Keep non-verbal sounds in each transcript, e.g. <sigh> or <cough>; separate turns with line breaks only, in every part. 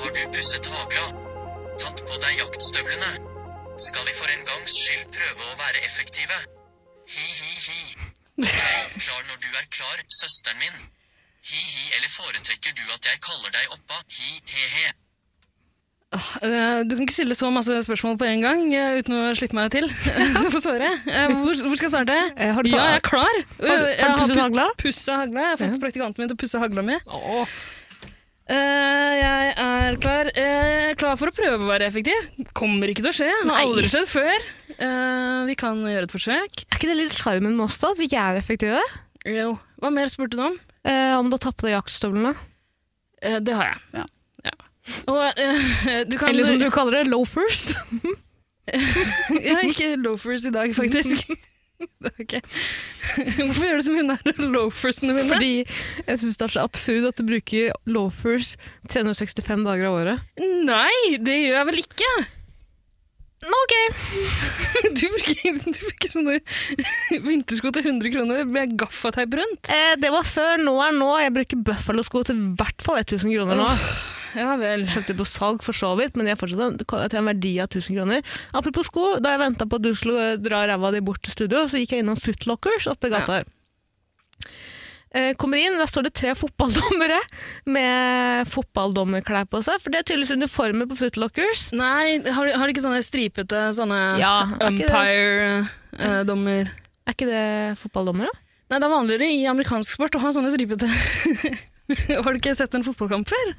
Har du pusset hagla? Tatt på deg jaktstøvlene? Skal vi for en gangs skyld prøve å være effektive? Hi-hi-hi. Jeg er klar når du er klar, søsteren min. Hi-hi, eller foretrekker du at jeg kaller deg oppa? Hi-he-he.
Eh, Du kan ikke stille så masse spørsmål på en gang eh, uten å slippe meg til. <laughs> så får svare. Eh, Hvor, hvor skal jeg starte?
Eh, har du ta-
ja, jeg er klar. Eh,
du- har du
Jeg har
pusset
pu-
hagla?
pusset hagla. Jeg har fått
Ja.
praktikanten min til å pusse hagla mi. Eh, jeg er klar. Eh, jeg er klar for å prøve å være effektiv. Kommer ikke til å skje. Det har
Nei.
aldri skjedd før. Eh, vi kan gjøre et forsøk.
Er ikke det litt sjarmen med oss, da? At vi ikke er effektive?
Jo. Hva mer spurte du om?
Eh, om du har tatt på deg jaktstøvlene?
Eh, det har jeg.
Ja.
Ja. Og eh, <laughs> du kan
Eller som du kaller det, <laughs> loafers.
Jeg har ikke loafers i dag, faktisk. Det er <laughs> ok. Hvorfor gjør du så mye nær loafersene mine?
Fordi jeg syns det er så absurd at du bruker loafers 365 dager av året.
Nei, det gjør jeg vel ikke!
Ok!
<laughs> Du bruker, du bruker sånne <laughs> vintersko til 100 kroner med gaffateip rundt.
Eh, det var før, nå er nå. Jeg bruker Buffalo-sko til i hvert fall 1000 kroner nå.
Ja vel.
Kjøpte på salg for så vidt, men de er fortsatt til en verdi av 1000 kroner. Apropos sko, da jeg venta på at du skulle dra ræva di bort til studio, så gikk jeg innom Footlockers oppe i gata her. Eh, Kommer inn, der står det tre fotballdommere med fotballdommerklær på seg. For det er tydeligvis uniformer på Footlockers.
Nei, har, har de ikke sånne stripete sånne
Ja, er ikke det-
umpire-dommer?
Er ikke det fotballdommere?
Nei, det er vanligere i amerikansk sport å ha sånne stripete <laughs> Har du ikke sett en fotballkamp før?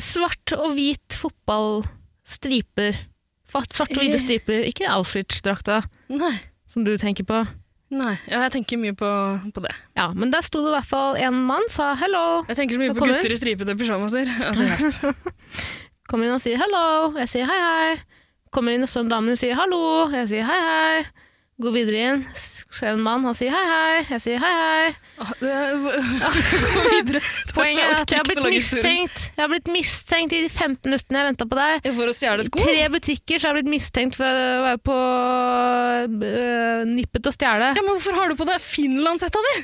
Svart og hvit fotballstriper. Fa- Svarte og hvite
Eh.
striper, ikke Auschwitz-drakta
Nei.
som du tenker på.
Nei. Ja, jeg tenker mye på, på det.
Ja, men der sto det i hvert fall en mann sa 'hello'.
Jeg tenker så mye
Da
på
kommer-
gutter i stripete pysjamaser. Ja, det er-
Kommer inn og sier hello, jeg sier hei hei. Kommer inn og står en dame og sier hallo, jeg sier hei hei. Går videre inn, s- ser en mann, han sier hei hei, jeg sier hei hei.
Ah, det- Gå videre.
Poenget er at jeg har
Ikke så
blitt
lang historie.
mistenkt. Jeg har blitt mistenkt i de 15 minuttene jeg venta på deg.
For å stjele
I
sko?
tre butikker så har jeg blitt mistenkt for å være på øh, nippet til å stjele.
Ja, men Hvorfor har du på deg finlandshetta di?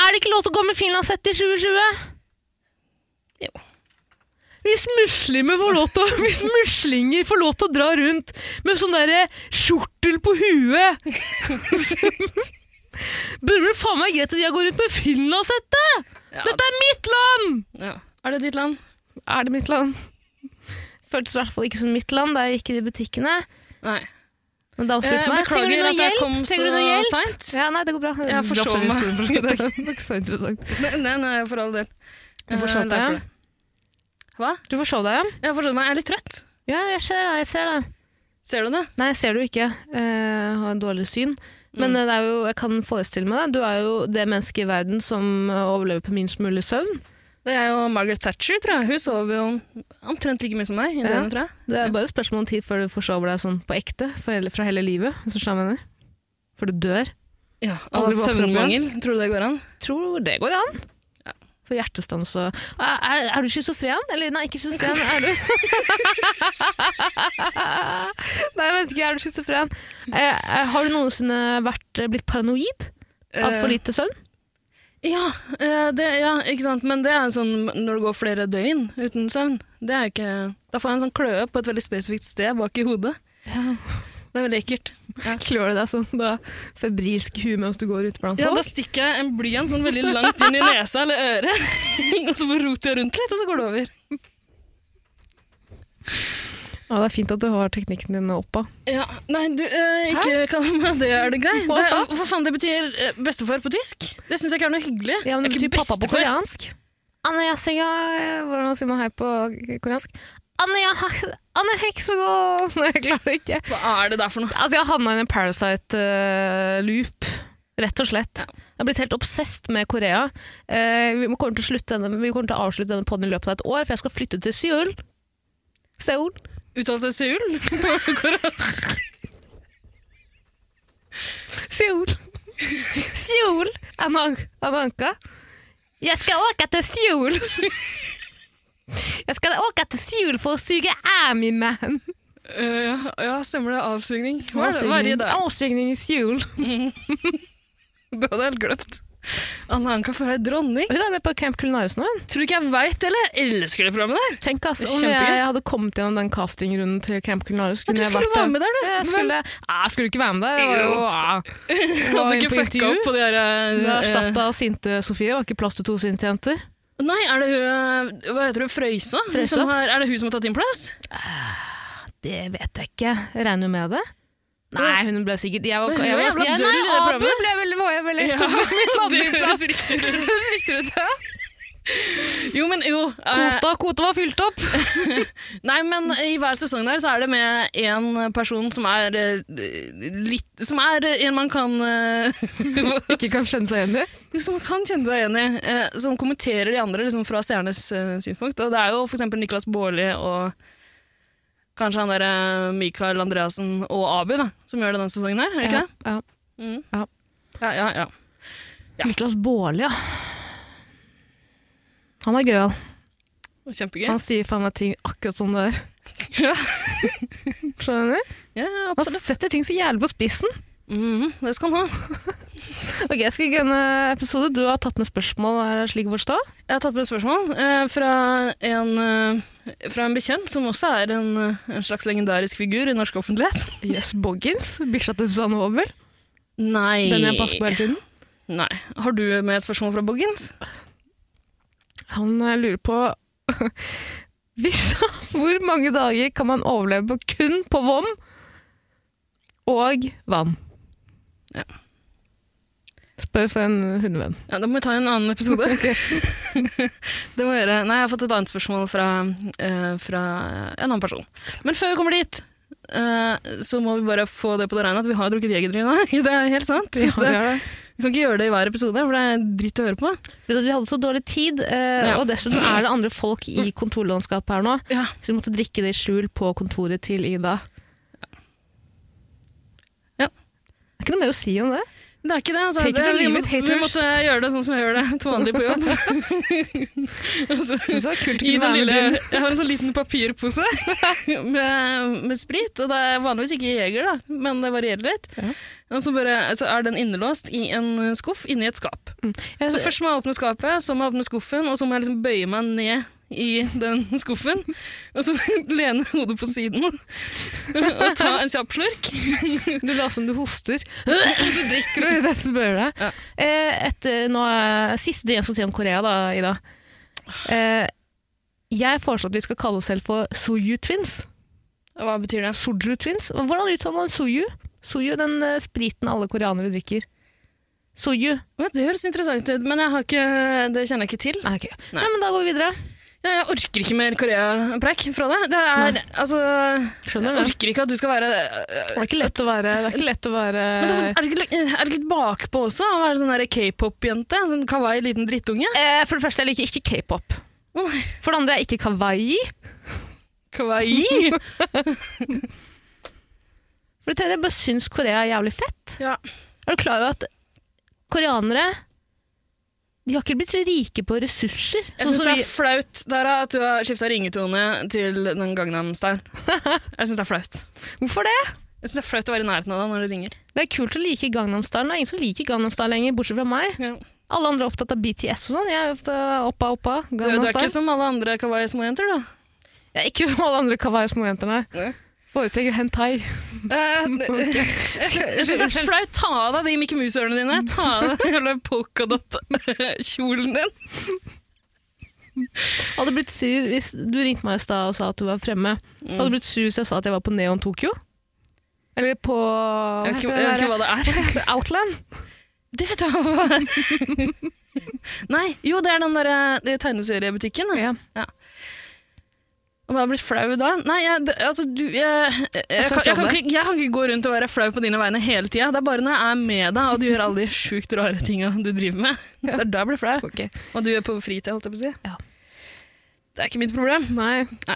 Er det ikke lov til å gå med finlandshette i 2020?
Jo.
Hvis muslimer får lov til å, <laughs> hvis muslinger får lov til å dra rundt med sånn derre skjortel på huet <laughs> Burde det faen meg greit at jeg går rundt med finlandshette?
Ja,
Dette er mitt land!
ja. Er det ditt land?
Er det mitt land? Føltes i hvert fall ikke som mitt land da jeg gikk i de butikkene.
Nei.
Men da spurte
Eh,
jeg meg trenger
beklager
du noe
at jeg
hjelp.
kom
Trenger du noe
så
hjelp?
seint.
Ja, nei, det går bra.
Jeg forsov
Dropp den
meg.
historien for i dag. <laughs> Det var ikke så interessant.
<laughs> Nei, nei, nei, for all del.
Du forsov
Eh,
deg,
det er
ja.
for det. Hva?
Du forsov deg, ja?
Jeg forstår meg. Jeg er litt trøtt.
Ja, jeg ser det. Jeg ser det.
Ser du det?
Nei, jeg ser det jo ikke. Jeg har en dårlig syn. Men eh, det er jo, jeg kan forestille meg det. Du er jo det mennesket i verden som eh, overlever på minst mulig søvn.
Det er jo Margaret Thatcher, tror jeg. Hun sover jo omtrent like mye som meg i
Ja.
døgnet, tror jeg.
Det er bare et spørsmål om tid før du forsover deg sånn på ekte for hele, fra hele livet. hvis du skjønner hva jeg mener. For du dør.
Ja, Og
Aldri våkner opp igjen.
søvnmangel. Tror du det går an?
Tror det går an. For hjertestans og Er, er, er du schizofren? Eller nei, ikke schizofren. Er du <laughs> Nei, jeg vet ikke. Er du schizofren? Eh, eh, har du noensinne vært, eh, blitt paranoid av for
Eh,
lite søvn?
Ja, eh, det, ja, ikke sant. Men det er sånn når det går flere døgn uten søvn. Det er jo ikke, da får jeg en sånn kløe på et veldig spesifikt sted bak i hodet. Det er veldig ekkelt.
Klør det deg sånn da febrilsk hue mens du går ute blant
Ja, da
folk?
stikker jeg en blyant sånn veldig langt inn i nesa eller øret, <laughs> og så bare roter jeg rundt litt, og så går det over.
Ja, det er fint at du har teknikken din oppa.
Ja, nei, du, eh, ikke kall meg det, er det grei? Det,
Hva da?
er- for faen, det betyr eh, bestefar på tysk. Det syns jeg ikke er noe hyggelig.
Ja, men
Jeg
det
er
betyr
ikke
pappa på
bestefar.
koreansk. Annayasega Hvordan sier man hei på koreansk? Annayasego <laughs> Nei, jeg klarer det ikke.
Hva er det der for noe?
Altså, jeg havna i en Parasite-loop, eh, rett og slett. Jeg har blitt helt obsesst med Korea. Eh, vi, må- kommer til å slutte denne, vi kommer til å avslutte denne podden i løpet av et år, for jeg skal flytte til Seoul. Seoul.
Uttale seg Seul?
Seoul. Seoul, Aman Amanka. Jeg skal åke til Seoul. Jeg skal åke til Seoul for å suge Amy Man.
Eh, ja, stemmer det. Avsugning. Hva er det? Hver dag.
Avsugning i Seoul.
Det hadde jeg helt glemt. Anna Anka får ei dronning.
Hun er med på Camp Culinaris nå. hun.
Tror du ikke jeg veit det, eller? Jeg elsker det programmet der.
Tenk ass, om
Kjempegøy.
jeg hadde kommet gjennom den castingrunden til Camp Culinaris.
Ja, du
jeg
skulle
vært
være med der, du.
Jeg
Du
skulle, Nei, jeg skulle ikke være med der. Jeg var jo, jeg var
Hadde
jo
ikke
på
fucka
intervju.
opp på de eh,
Hun er
derre
erstatta av sinte Sofie. Det var ikke plass til to sinte jenter.
Nei, er det hun eh, Hva heter hun? Frøysa? Hun
Frøysa?
som har- Er det hun som har tatt din plass?
Det vet jeg ikke. Jeg regner jo med det. Nei, hun ble sikkert jeg var,
Hun
jeg,
var
var,
jævla
jeg-
døll i det
Nei, Abu
programmet.
ble vel, var jeg vel <laughs>
Ja,
tok min mann
<laughs> det
min
høres
plass.
riktig
Det høres riktig ut. <laughs> ja.
Jo, men jo. eh,
Kvota, kvota var fylt opp.
Nei, men i hver sesong der så er det med en person som er eh, litt Som er en man kan eh, <laughs>
Ikke kan skjønne seg igjen i.
Som Liksom, kan kjenne seg igjen i. eh, Som kommenterer de andre liksom, fra stjernes eh, synspunkt. Og det er jo f.eks. Niklas Baarli og kanskje han derre Mikael Andreassen og Abu da, som gjør det denne sesongen her, er det ikke
Ja, ja.
det? Mm.
Ja.
Ja, ja, ja. Ja.
Niklas Baarli, ja. Han er gøyal.
Kjempegøy.
Han sier faen meg ting akkurat som det er.
<laughs> Ja.
Skjønner du?
Ja, ja,
Han
absolutt.
setter ting så jævlig på spissen.
Mhm, det skal han ha.
Ok, jeg skal gønne episode. Du har tatt med spørsmål, er det slik å forstå?
Jeg har tatt med et spørsmål eh, fra en, eh, fra en bekjent som også er en, eh, en slags legendarisk figur i norsk offentlighet.
Yes, Boggins. Bikkja til Susanne Hobel.
Nei.
Den jeg passer på hele tiden.
Nei. Har du med et spørsmål fra Boggins?
Han eh, lurer på <laughs> hvis, Hvor mange dager kan man overleve på kun på vom og vann?
Ja.
Spør for en hundevenn. <laughs>
Ja, Da må vi ta en annen episode. det må vi gjøre. Nei, jeg har fått et annet spørsmål fra, eh, fra en annen person. Men før vi kommer dit, eh, så må vi bare få det på det rene at vi har drukket jegerdrina. <laughs> Det er helt sant.
Ja, det
det,
er det.
vi kan ikke gjøre det i hver episode, for det er dritt å høre på.
Vet du, Vi hadde så dårlig tid, eh,
Ja.
og dessuten er det andre folk i kontorlandskapet her nå.
Ja.
Så vi måtte drikke det i skjul på kontoret til Ida.
Ja.
Det er ikke noe mer å si <laughs> om det.
Det er ikke det. Altså,
Take it
det
or
vi,
leave
må,
it, haters.
vi måtte gjøre det sånn som jeg gjør det til vanlig på jobb.
<laughs>
altså,
Jeg synes det var kult å
i
kunne
den
være med
lille,
<laughs> din.
jeg har en sånn liten papirpose <laughs> med, med sprit, og det er vanligvis ikke jeger, da, men det varierer litt.
Ja.
Og så bare, altså, er den innelåst i en skuff inni et skap.
Jeg-
Så først må jeg åpne skapet, så må jeg åpne skuffen, og så må jeg liksom bøye meg ned i den <laughs> skuffen, og så <laughs> lene hodet på siden <laughs> og ta en kjapp slurk.
Du later som <laughs> du hoster. Så drikker du i det du bør deg.
Ja.
Eh, etter nå, eh, siste jeg skal si om Korea, da, Ida. Eh, jeg foreslår at vi skal kalle oss selv for Soju Twins.
Hva betyr det?
Soju Twins. Hvordan uttaler man Soju? Soju, den eh, spriten alle koreanere drikker. Soju.
Ja, Det høres interessant ut, men jeg har ikke, det kjenner jeg ikke til.
Nei, ok.
Nei.
Nei. men da går vi videre.
Ja, jeg orker ikke mer Korea-preik fra deg. Det er, altså, jeg
Skjønner du?
orker ikke at du skal være øh,
Det er ikke lett å være, det er ikke lett å være
men det er, sånn, er, det ikke, litt- er det ikke litt bakpå også å være sånn der k-pop-jente? Sånn kawaii liten drittunge?
eh, For det første, jeg liker ikke k-pop.
Å nei.
For det andre, jeg er ikke kawaii.
<laughs> Kawaii?
For det tredje, jeg bare syns Korea er jævlig fett.
ja.
Er du klar over at koreanere de har ikke blitt så rike på ressurser?
Jeg
sånn
syns
som
det er flaut Dara, at du har skifta ringetone til den Gangnam Style. Jeg syns det er flaut.
vi... Hvorfor det?
Jeg syns det er flaut å være i nærheten av deg når det ringer.
Det er kult å like Gangnam Style. Det er ingen som liker Gangnam Style lenger, bortsett fra meg.
Ja.
Alle andre er opptatt av BTS og sånn. Jeg er opptatt av oppa, oppa,
Du, du
Gangnam
er ikke
Style.
som alle andre kawaii-småjenter,
<laughs>
da.
Jeg er ikke som alle andre kawaii-småjentene.
Nei.
Foretrekker hentai.
Eh, Jeg jeg synes det er flaut. Ta av deg de Mickey Mouse-ørene dine. Ta av deg den jævla polkadott-kjolen din.
Hadde blitt sur hvis du ringte meg i stad og sa at du var fremme.
Mm.
Hadde blitt sur hvis jeg sa at jeg var på Neon Tokyo. Eller på
Jeg vet, ikke, jeg vet ikke hva det er.
hva det er. Outland.
Det vet jeg hva det er. Nei, jo, det er den der eh, tegneseriebutikken. da.
Ja.
Om jeg hadde blitt flau da? Nei, jeg, det- altså, du, jeg, jeg, jeg, kan, jeg, kan
alle.
ikke, jeg kan ikke gå rundt og være flau på dine vegne hele tida. Det er bare når jeg er med deg, og du gjør alle de sjukt rare tinga du driver med. Det er da jeg blir flau.
Ok.
Og du gjør på fritida, holdt jeg på å si.
Ja.
Det er ikke mitt problem.
Nei.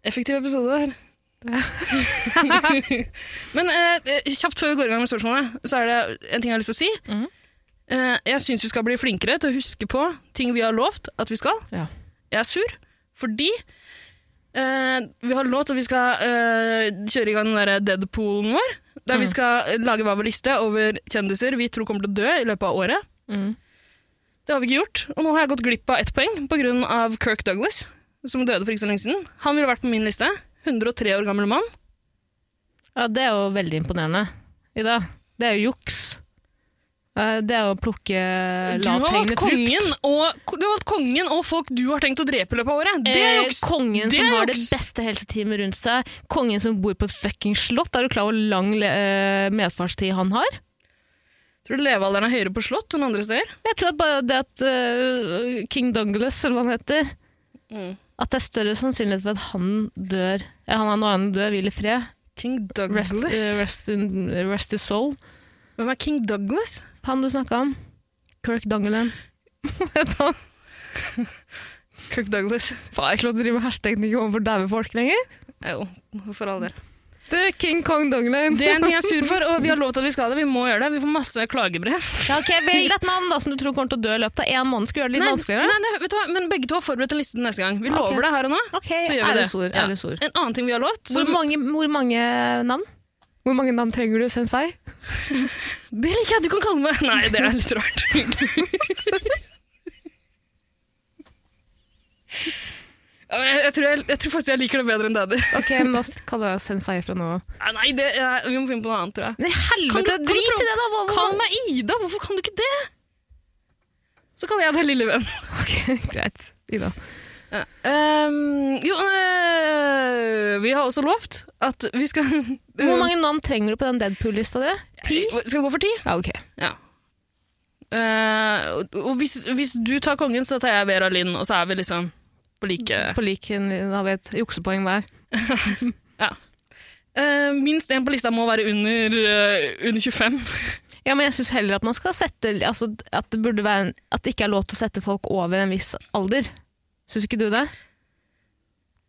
Effektiv episode der. <laughs> Men eh, kjapt før vi går i gang med spørsmålet, så er det en ting jeg har lyst til å si.
Mhm.
Eh, jeg syns vi skal bli flinkere til å huske på ting vi har lovt at vi skal.
Ja.
Jeg er sur fordi eh, vi har lovt at vi skal eh, kjøre i gang den der Deadpoolen vår. Der
Mhm.
vi skal eh, lage hver vår liste over kjendiser vi tror kommer til å dø i løpet av året.
Mm.
Det har vi ikke gjort, og nå har jeg gått glipp av ett poeng pga. Kirk Douglas, som døde for ikke så lenge siden. Han ville vært på min liste. 103 år gammel mann.
Ja, det er jo veldig imponerende, Ida. Det er jo juks. Eh, Det er jo å plukke Eh,
Du har valgt
lavthengende frukt.
kongen, og, du har valgt kongen og folk du har tenkt å drepe i løpet av året. Det er juks!
Eh, kongen
Det er
som har det
juks.
beste helseteamet rundt seg. Kongen som bor på et fucking slott. Er du klar over hvor lang eh, medfartstid han har?
Tror du levealderen er høyere på slott enn andre steder?
Jeg tror at bare det at eh, King Douglas, eller hva han heter
Mm.
At det er større sannsynlighet for at han dør Eller han er noe annet dør, hvil i fred.
King Douglas?
Rest, eh, rest, in, rest his soul.
Hvem er King Douglas?
Han du snakka om. Kirk Dungelen. Vet han?
Kirk Douglas. <laughs>
Faen, jeg er ikke lov til å drive hersketeknikk overfor daue folk lenger.
Jo, for all del.
Du, King Kong Donglen.
Det er en ting jeg er sur for, og vi har lovt at vi skal det. Vi må gjøre det. Vi får masse klagebrev.
Ja, ok, Velg et navn da, som du tror kommer til å dø i løpet av én måned. Skulle gjøre det litt
Nei,
vanskeligere.
nei, det- vet du hva? Men begge to har forberedt en liste til neste gang. Vi lover
Ok.
det her og nå.
Ok,
Så gjør vi det.
ærlig sor,
Ja.
ærlig sor.
En annen ting vi har lovt
Hvor,
som- <laughs>
mange, hvor mange navn? Hvor mange navn trenger du, Sensei?
Det liker jeg at du kan kalle meg. Nei, det er litt rart. <laughs> Ja, men jeg, jeg, tror jeg, jeg tror faktisk jeg liker det bedre enn daddy. <laughs>
Ok, men Da kaller jeg Sensei fra nå av.
Ja, Nei, det, jeg, vi må finne på noe annet, tror jeg.
Men i
Kan du-
helvete,
kan du
drit i
prøve-
det, da! Hva, hva,
Kall meg Ida, hvorfor kan du ikke det? Så kaller jeg deg lille venn.
Ok, <laughs> Greit. Ida.
Ja. Ehm, jo, øh, vi har også lovt at vi skal
Hvor mange navn trenger du på den Deadpool-lista di? Ti?
<laughs> Skal gå for ti?
Ja, ok.
Ja. Eh, og- og hvis, hvis du tar kongen, så tar jeg Vera Linn, og så er vi liksom på like
På liken har vi et juksepoeng hver.
Eh, minst én på lista må være under, eh, under 25.
Ja, men jeg syns heller at man skal sette altså, at, det burde være en, at det ikke er lov til å sette folk over en viss alder. Syns ikke du det?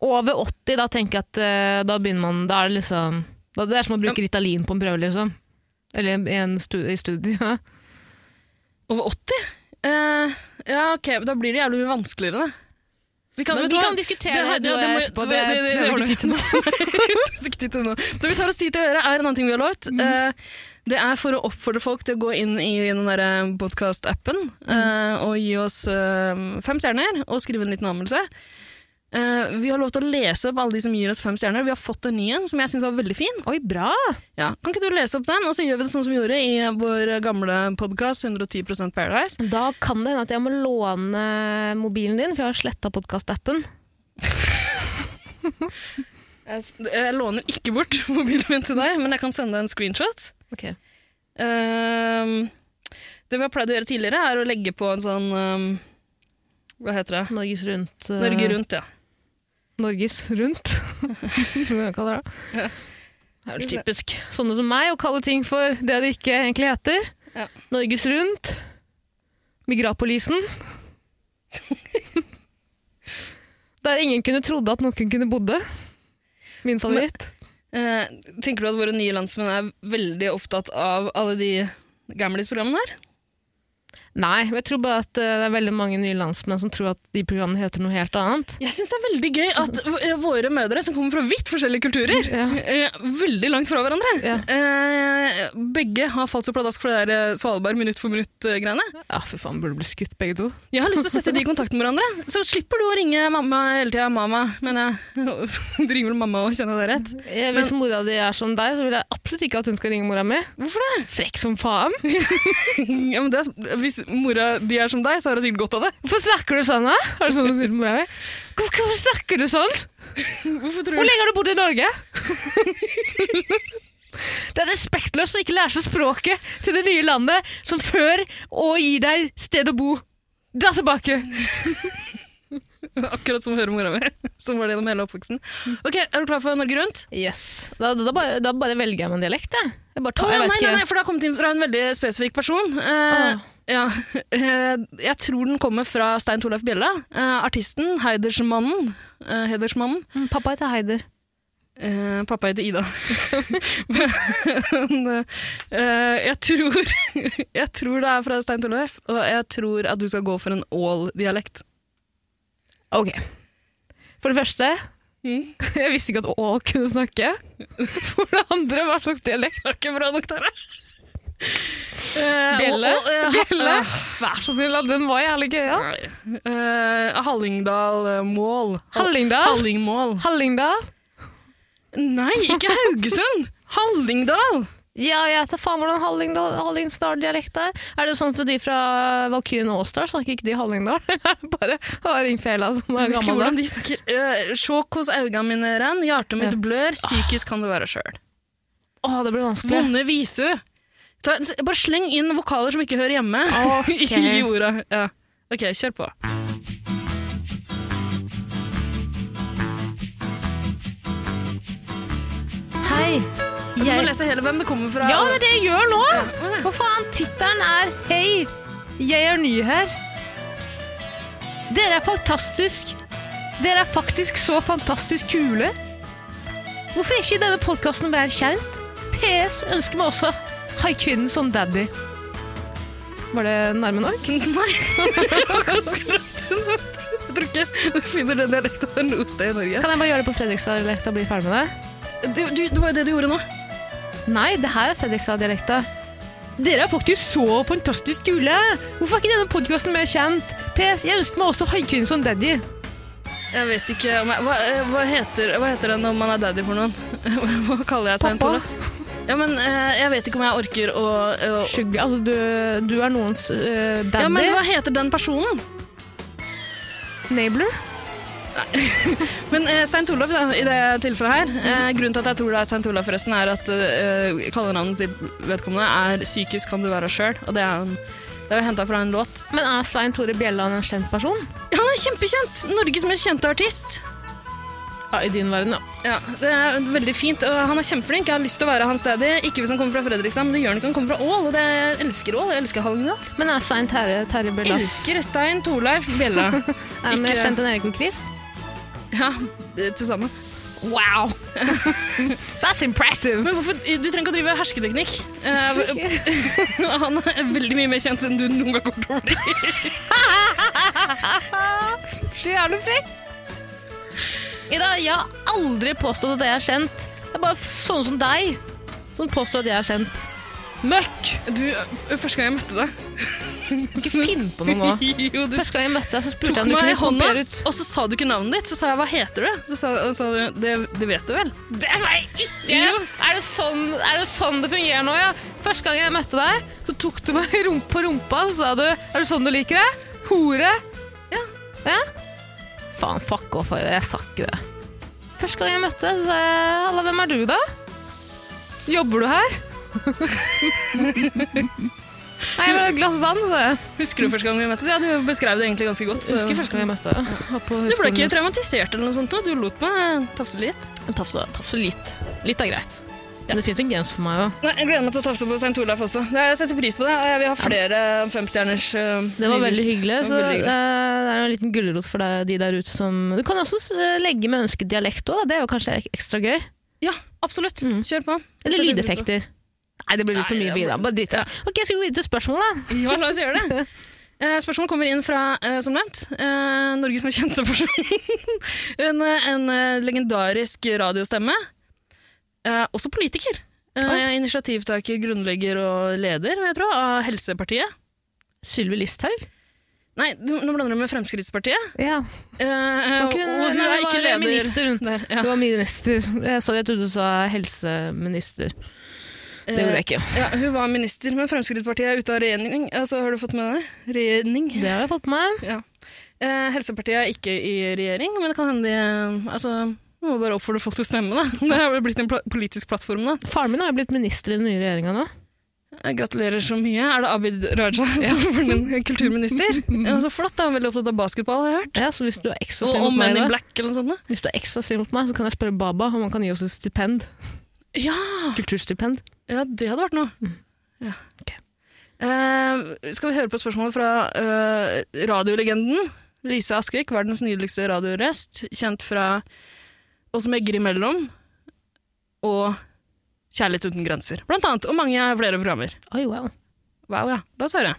Over 80, da tenker jeg at eh, da begynner man Da er det liksom da, Det er som å bruke Ritalin på en prøve, liksom. Eller i en stu- i studie.
Over 80? Eh, ja, ok, da blir det jævlig mye vanskeligere, da. Vi kan, vet du
vi
hva?
kan diskutere det,
her-
du og
må-
jeg etterpå. Det,
det- det- det
har
ordner
vi ikke
vi.
tid til nå.
<laughs> Det er ikke tid til nå. Det vi tar oss tid til å gjøre, er en annen ting vi har lovt. Eh, det er for å oppfordre folk til å gå inn i den der podkast-appen eh, og gi oss eh, fem stjerner og skrive en liten anmeldelse. Eh, vi har lov til å lese opp alle de som gir oss fem stjerner. Vi har fått en ny en som jeg syns var veldig fin.
Oi, bra!
Ja, Kan ikke du lese opp den, og så gjør vi det sånn som vi gjorde i vår gamle podkast 110 Paradise.
Da kan det hende at jeg må låne mobilen din, for jeg har sletta podkastappen.
Jeg, s- jeg låner ikke bort <laughs> mobilen min til deg, men jeg kan sende deg en screenshot.
Okay.
Ehm, det vi har pleid å gjøre tidligere, er å legge på en sånn ehm, Hva heter det?
Norges Rundt. eh,
Norge Rundt, ja.
Norges rundt, <laughs> som jeg kaller det.
Ja.
Det er jo typisk sånne som meg å kalle ting for det det ikke egentlig heter.
Ja.
Norges rundt, <laughs> Migrapolisen. Der ingen kunne trodde at noen kunne bodde. Min favoritt.
Eh, tenker du at våre nye landsmenn er veldig opptatt av alle de Gamlis-programmene her?
Nei, men jeg tror bare at eh, det er veldig mange nye landsmenn som tror at de programmene heter noe helt annet.
Jeg syns det er veldig gøy at v- eh, våre mødre, som kommer fra vidt forskjellige kulturer,
Ja.
eh, veldig langt fra hverandre
Ja.
eh, Begge har falt så pladask for det der eh, Svalbard minutt for minutt-greiene.
Ja, fy faen, burde bli skutt begge to.
Jeg har lyst til å sette de i kontakt med hverandre. Så slipper du å ringe mamma hele tida. Mamma, mener jeg. <laughs> Du ringer vel mamma og kjenner det rett?
Eh, Hvis mora di er som deg, så vil jeg absolutt ikke at hun skal ringe mora mi.
Hvorfor det?
Frekk som faen.
<laughs> Ja, men det er, hvis mora di er som deg, så har hun sikkert godt av det. <laughs>
Hvorfor snakker du sånn, da? Er det sånn du sier til mora mi? Hvorfor, hvorfor snakker du sånn?
Hvorfor tror
Hvor
du
lenge har du bodd i Norge? Det er respektløst å ikke lære seg språket til det nye landet som før og gir deg sted å bo. Dra tilbake!
<laughs> Akkurat som å høre mora mi, <laughs> som var det gjennom hele oppvoksen. Ok, Er du klar for Norge Rundt?
Yes. Da, da, da, bare, da bare velger jeg meg en dialekt, jeg. jeg bare tar,
Å, ja,
jeg vet
nei, nei,
ikke.
nei, for det har kommet inn fra en veldig spesifikk person. Eh,
Ah.
ja. <laughs> Eh, jeg tror den kommer fra Stein Torleif Bjella. Eh, artisten, heidersmannen, eh, hedersmannen.
Mm, Pappa heter Heider.
Eh, pappa heter Ida. <laughs> Men eh, jeg, tror, <laughs> jeg tror det er fra Stein Torleif, og jeg tror at du skal gå for en Ål-dialekt.
Ok. For det første, <laughs> jeg visste ikke at Å kunne snakke. <laughs> For det andre, hva slags dialekt?
Det er ikke bra nok, Tara. Eh,
Bjelle?
og- og, eh,
<laughs> Bjelle? Vær så snill, da, den var jævlig gøy. Ja.
Nei. Eh, Hallingdal-mål.
Hallingdal.
Hallingmål.
Hallingdal.
Nei, ikke Haugesund! <laughs> Hallingdal!
Ja, jeg vet da faen hvordan Hallingdal, Hallingdal-dialekt er. Er det sånn for de fra Valkyrien og Allstar snakker ikke de Hallingdal? <laughs> Eller er det bare hardingfela som
Jeg
er
vet ikke
gammel?
hvordan de snakker. Eh, Sjåk hos auga mine renn, hjertet mitt blør, psykisk kan det være sjøl.
Å, Ah. det blir vanskelig.
Vonde visu. Ta, bare sleng inn vokaler som ikke hører hjemme <laughs> i jorda. Ja. Ok, kjør på.
Hei.
Du må
Jeg...
lese hele hvem det kommer fra.
Ja, det er det jeg gjør nå! Hva faen? Tittelen er Hei, jeg er ny her. Dere er fantastisk. Dere er faktisk så fantastisk kule. Hvorfor er ikke denne podkasten mer kjent? PS ønsker meg også Hai kvinnen som daddy. Var det nærme nok?
Nei, det var ganske rett. Jeg tror ikke <laughs> du finner den dialekta noe sted i Norge.
Kan jeg bare gjøre det på Fredrikstad-dialekta og bli ferdig med det?
Du, du, det var jo det du gjorde nå.
Nei, det her er Fredrikstad-dialekta. Dere er faktisk så fantastisk kule! Hvorfor er ikke denne podkasten mer kjent? PS, jeg ønsker meg også Haikvinnen som daddy.
Jeg vet ikke om jeg, hva, eh, hva, heter, hva heter det når man er daddy for noen? <laughs> Hva kaller jeg seg en
Pappa.
Ja, men eh, jeg vet ikke om jeg orker å, å
Sugar, altså du, du er noens eh, daddy.
Ja, men hva heter den personen?
Nabler?
Men eh, St. Olav da, i det tilfellet her, eh, grunnen til at jeg tror det er St. Olav forresten, er at eh, kallenavnet til vedkommende er psykisk kan du være sjøl, og det er, en, det er jo henta fra en låt.
Men er Svein Tore Bjelland en kjent person?
Ja, han er kjempekjent! Norges mest kjente artist.
Ja, i din verden, ja.
Ja, Det er veldig fint, og han er kjempeflink. Jeg har lyst til å være hans daddy. Ikke hvis han kommer fra Fredrikstad, men det gjør han ikke. Han kommer fra Ål, og det jeg elsker Ål. Jeg elsker Hallingdal.
Men er Svein Terje, Terje Bjelland
Elsker Stein Torleif
<laughs>
Bjella.
er han mer
ikke-
kjent enn Erik og Chris?
Ja, til sammen.
Wow! <laughs> That's impressive!
Men hvorfor, du trenger ikke å drive hersketeknikk. Eh, <laughs> han er veldig mye mer kjent enn du noen gang kommer til å bli.
Så jævlig frekk! Ida, jeg har aldri påstått at jeg er kjent. Det er bare sånne som deg som påstår at jeg er kjent. Mørk!
Du, f- Første gang jeg møtte deg,
Ikke finn på noe nå.
<laughs> jo, du
Første gang jeg møtte deg, så
tok
spurte jeg om du
meg i
kunne
hånda,
kopiere ut.
og så sa du ikke navnet ditt. Så sa jeg 'hva heter du?' Så sa, og sa du det, 'det vet du vel'?
Det sa jeg ikke!
Jo.
Er det, sånn, er det sånn det fungerer nå, ja? Første gang jeg møtte deg, så tok du meg <laughs> rump på rumpa og sa du Er det sånn du liker det? Hore?
Ja.
ja? Faen, fuck off, Are. jeg sa ikke det. Første gang jeg møtte deg, så sa jeg Halla, hvem er du, da? Jobber du her? <laughs> Nei, jeg vil ha et glass vann, sa jeg.
Husker du første gang vi møttes? Ja, du beskrev det egentlig ganske godt. så-
Husker første gang jeg møtte deg. var på
Du ble
høyskolen.
ikke traumatisert eller noe sånt? da? Du lot meg tafse litt.
Tafse tafse litt. Litt er greit. Men det fins en grense for meg òg.
Nei, jeg gleder meg til å tafse på St. Olav også. Det- Jeg setter pris på det. og Jeg vil ha flere femstjerners eh,
Det var
reviews.
veldig hyggelig.
Det
Så
var
eh,
veldig
det er en liten gulrot for deg, de der ute som Du kan også eh, legge med ønsket dialekt òg, det er jo kanskje ek- ekstra gøy.
Ja, absolutt.
Mm.
Kjør på.
Eller
Setter pris på det. <laughs>
lydeffekter. Nei, det blir litt for
Nei,
mye
det
for Ida. Bare drit i det. Ok, skal vi gå videre til spørsmålet? da?
Ja, la oss gjøre det.
<laughs>
Eh, spørsmålet kommer inn fra, eh, som nevnt, eh, Norges mest kjente person. <laughs> en, eh, en eh, legendarisk radiostemme. Eh, også politiker. Eh, initiativtaker, grunnlegger og leder, vil jeg tro, av Helsepartiet.
Sylvi Listhaug?
Nei, du, nå blander du med Fremskrittspartiet.
Ja.
Eh, og hun er ikke leder.
Minister, hun.
Der, ja.
Hun var minister. Eh, Sorry, jeg trodde du sa helseminister. Det gjorde jeg ikke.
Eh, ja, hun var minister, men Fremskrittspartiet er ute av regjering. Altså, har du fått med deg det? Regjering?
Det har jeg fått på meg.
Ja. Eh, Helsepartiet er ikke i regjering, men det kan hende de eh, altså, Vi må bare oppfordre folk til å stemme, da. Det har vel blitt en pla politisk plattform, da.
Faren min har jo blitt minister i den nye regjeringa nå.
Eh, Gratulerer så mye. Er det Abid Raja som var din kulturminister? <laughs> Ja, så flott, da. Han er veldig opptatt av basketball, har jeg hørt.
Ja, så hvis du er ekstra
Og,
snill
og
mot meg,
Men in
da-
Black eller noe sånt. da.
hvis du er ekstra snill mot meg, så kan jeg spørre Baba om han kan gi oss et stipend.
Ja,
Kulturstipend.
ja det hadde vært noe. Ja.
Mm. Ok.
Eh, skal vi høre på spørsmålet fra eh, radiolegenden Lise Askvik, verdens nydeligste radiorøst, kjent fra Oss som egger imellom og Kjærlighet uten grenser. Blant annet, og mange flere programmer.
Oi, wow.
Wow, ja. La oss høre.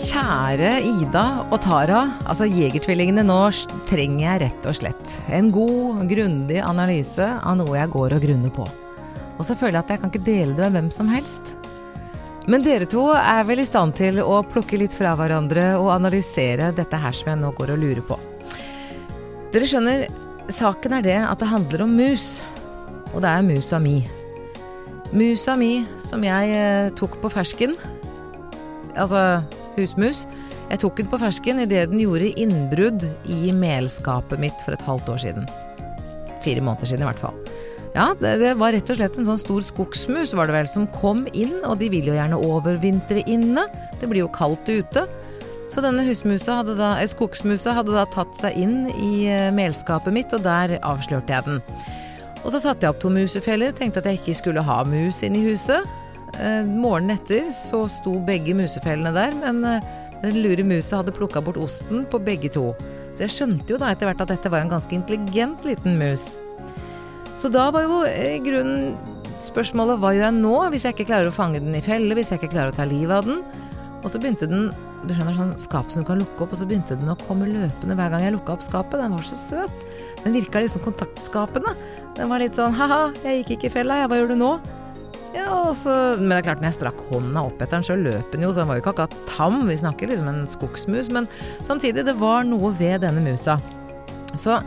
Kjære Ida og Tara, altså Jegertvillingene nå s- trenger jeg rett og slett en god, grundig analyse av noe jeg går og grunner på. Og så føler jeg at jeg kan ikke dele det med hvem som helst. Men dere to er vel i stand til å plukke litt fra hverandre og analysere dette her som jeg nå går og lurer på. Dere skjønner, saken er det at det handler om mus. Og det er musa mi. Musa mi som jeg eh, tok på fersken altså husmus. Jeg tok den på fersken idet den gjorde innbrudd i melskapet mitt for et halvt år siden. Fire måneder siden, i hvert fall. Ja, det, det var rett og slett en sånn stor skogsmus, var det vel, som kom inn, og de vil jo gjerne overvintre inne. Det blir jo kaldt ute. Så denne husmusa hadde da, eh, skogsmusa hadde da tatt seg inn i eh, melskapet mitt, og der avslørte jeg den. Og så satte jeg opp to musefeller, tenkte at jeg ikke skulle ha mus inn i huset. Eh, morgenen etter så sto begge musefellene der, men eh, den lure musa hadde plukka bort osten på begge to. Så jeg skjønte jo da etter hvert at dette var en ganske intelligent liten mus. Så da var jo eh, i grunnen spørsmålet hva gjør jeg nå hvis jeg ikke klarer å fange den i felle, hvis jeg ikke klarer å ta livet av den? Og så begynte den du skjønner sånn skap som du kan lukke opp, og så begynte den å komme løpende hver gang jeg lukka opp skapet. Den var så søt. Den virka liksom kontaktskapende. Den var litt sånn ha-ha, jeg gikk ikke i fella, jeg, hva gjør du nå? Ja, og så, men det er klart, når jeg strakk hånda opp etter den, så løp den jo, så han var jo ikke akkurat tam, vi snakker liksom en skogsmus, men samtidig, det var noe ved denne musa. Så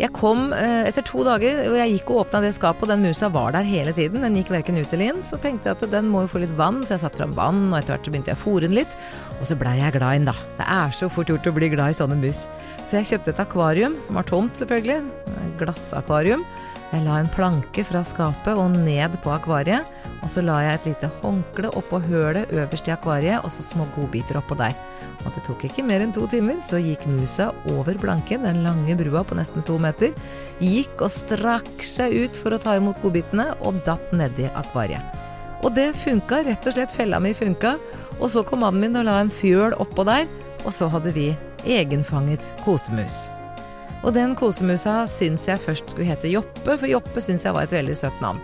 jeg kom eh, etter to dager, og jeg gikk og åpna det skapet, og den musa var der hele tiden, den gikk verken ut eller inn, så tenkte jeg at den må jo få litt vann, så jeg satte fram vann, og etter hvert så begynte jeg å fôre den litt, og så blei jeg glad i den, da. Det er så fort gjort å bli glad i sånne mus. Så jeg kjøpte et akvarium, som var tomt selvfølgelig, et glassakvarium. Jeg la en planke fra skapet og ned på akvariet, og så la jeg et lite håndkle oppå hølet øverst i akvariet, og så små godbiter oppå der. Og det tok ikke mer enn to timer, så gikk musa over planken, den lange brua på nesten to meter, gikk og strakk seg ut for å ta imot godbitene, og datt nedi akvariet. Og det funka, rett og slett fella mi funka, og så kom mannen min og la en fjøl oppå der, og så hadde vi egenfanget kosemus. Og den kosemusa syns jeg først skulle hete Joppe, for Joppe syns jeg var et veldig søtt navn.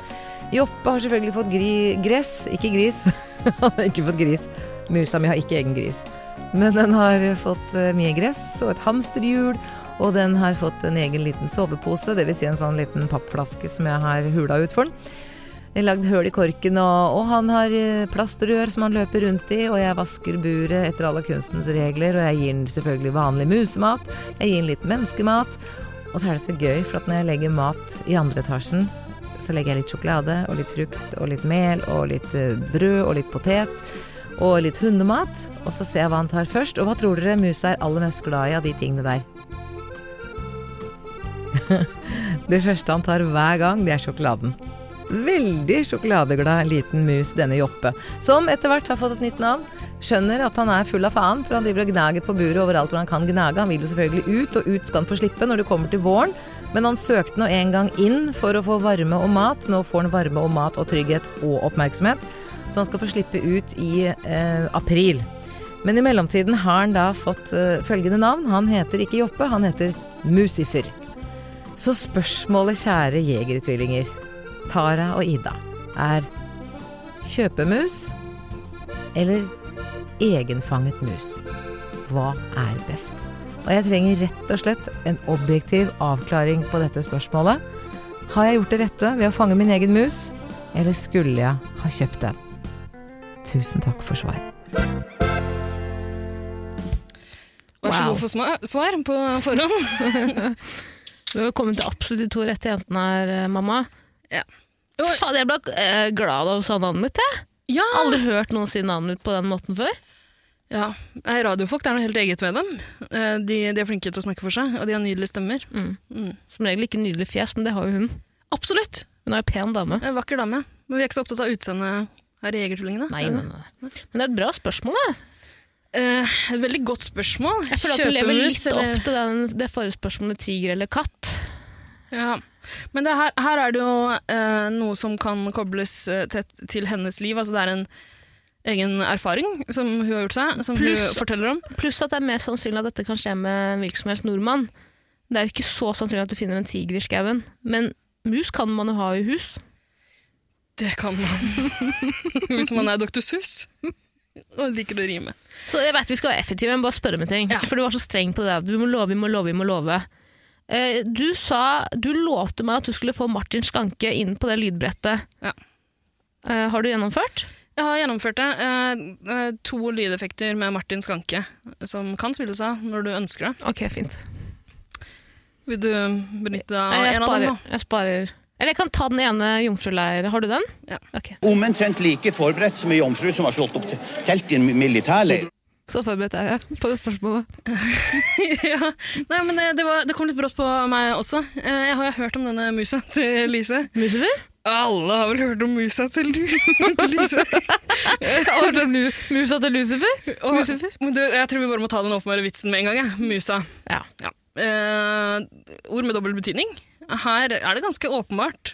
Joppe har selvfølgelig fått gri gress, ikke gris. <laughs> Han har ikke fått gris. Musa mi har ikke egen gris. Men den har fått eh, mye gress og et hamsterhjul, og den har fått en egen liten sovepose, dvs. Si en sånn liten pappflaske som jeg har hula ut for den. Jeg har lagd høl i korken, og, og han har eh, plastrør som han løper rundt i, og jeg vasker buret etter alle kunstens regler, og jeg gir den selvfølgelig vanlig musemat, jeg gir den litt menneskemat, og så er det så gøy, for at når jeg legger mat i andre etasjen, så legger jeg litt sjokolade, og litt frukt, og litt mel, og litt eh, brød, og litt potet, og litt hundemat, og så ser jeg hva han tar først, og hva tror dere musa er aller mest glad i av de tingene der? <laughs> det første han tar hver gang, det er sjokoladen veldig sjokoladeglad liten mus, denne Joppe, som etter hvert har fått et nytt navn. Skjønner at han er full av faen, for han driver og gnager på buret overalt hvor han kan gnage. Han vil jo selvfølgelig ut, og ut skal han få slippe når det kommer til våren. Men han søkte nå en gang inn for å få varme og mat. Nå får han varme og mat og trygghet og oppmerksomhet, så han skal få slippe ut i eh, april. Men i mellomtiden har han da fått eh, følgende navn. Han heter ikke Joppe, han heter Musifer. Så spørsmålet, kjære jegertvillinger, Tara og Ida, er kjøpemus eller egenfanget mus? Hva er best? Og jeg trenger rett og slett en objektiv avklaring på dette spørsmålet. Har jeg gjort det rette ved å fange min egen mus, eller skulle jeg ha kjøpt den? Tusen takk for svar.
Vær så
Wow.
god for sma- svar på
<laughs>
forhånd.
Du har kommet til absolutt de to rette jentene her, eh, mamma.
Ja.
Faen, jeg ble eh, glad av å sa navnet mitt, jeg.
Ja,
Aldri hørt noen si navnet mitt på den måten før.
Ja, nei, radiofolk det er noe helt eget ved dem. Eh, De, de er flinke til å snakke for seg, og de har nydelige stemmer.
Som regel ikke nydelig fjes, men det har jo hun.
Absolutt!
Hun er jo pen dame.
En Eh, vakker dame. Men vi er ikke så opptatt av utseendet her i Jegertvillingene.
Nei, nei, nei. Men det er et bra spørsmål, da.
Eh, et veldig godt spørsmål.
Jeg føler at du lever
Kjøpemus,
litt
eller-
opp til den, det forrige spørsmålet tiger eller katt.
Ja. Men det her, her er det jo eh, noe som kan kobles eh, tett til hennes liv. Altså det er en egen erfaring som hun har gjort seg, som
Pluss-
hun forteller om.
Pluss at det er mer sannsynlig at dette kan skje med en hvilken som helst nordmann. Det er jo ikke så sannsynlig at du finner en tiger i skauen, men mus kan man jo ha i hus.
Det kan man. <laughs> Hvis man er Dr. Sus og liker å rime.
Så jeg vet vi skal være effektive, men bare spørre om en ting.
Ja.
For du var så streng på det. der. Du må love, vi må love, vi må love. Eh, Du sa, du lovte meg at du skulle få Martin Skanke inn på det lydbrettet.
Ja.
Eh, Har du gjennomført?
Jeg har gjennomført det. Eh, eh, to lydeffekter med Martin Skanke, som kan spilles av når du ønsker det.
Ok, fint.
Vil du benytte deg
Nei,
av
jeg
en av dem?
sparer,
nå?
jeg sparer. Eller jeg kan ta den ene jomfruleir. Har du den?
Ja.
Ok,
Omtrent like forberedt som ei jomfru som har slått opp til- telt i en militærleir.
Så forberedt er jeg på det spørsmålet.
<laughs> ja. Nei, men eh, det, det, var, det kom litt brått på meg også. Eh, jeg har jo hørt om denne musa til Lise.
Musifer?
Alle har vel hørt om musa til, <laughs> til Lise.
<laughs> Har du hørt om lu- musa til Lucifer?
Og,
Lucifer?
men du, jeg tror vi bare må ta den åpenbare vitsen med en gang. Jeg. Musa.
Ja.
Eh, ord med dobbel betydning. Her er det ganske åpenbart,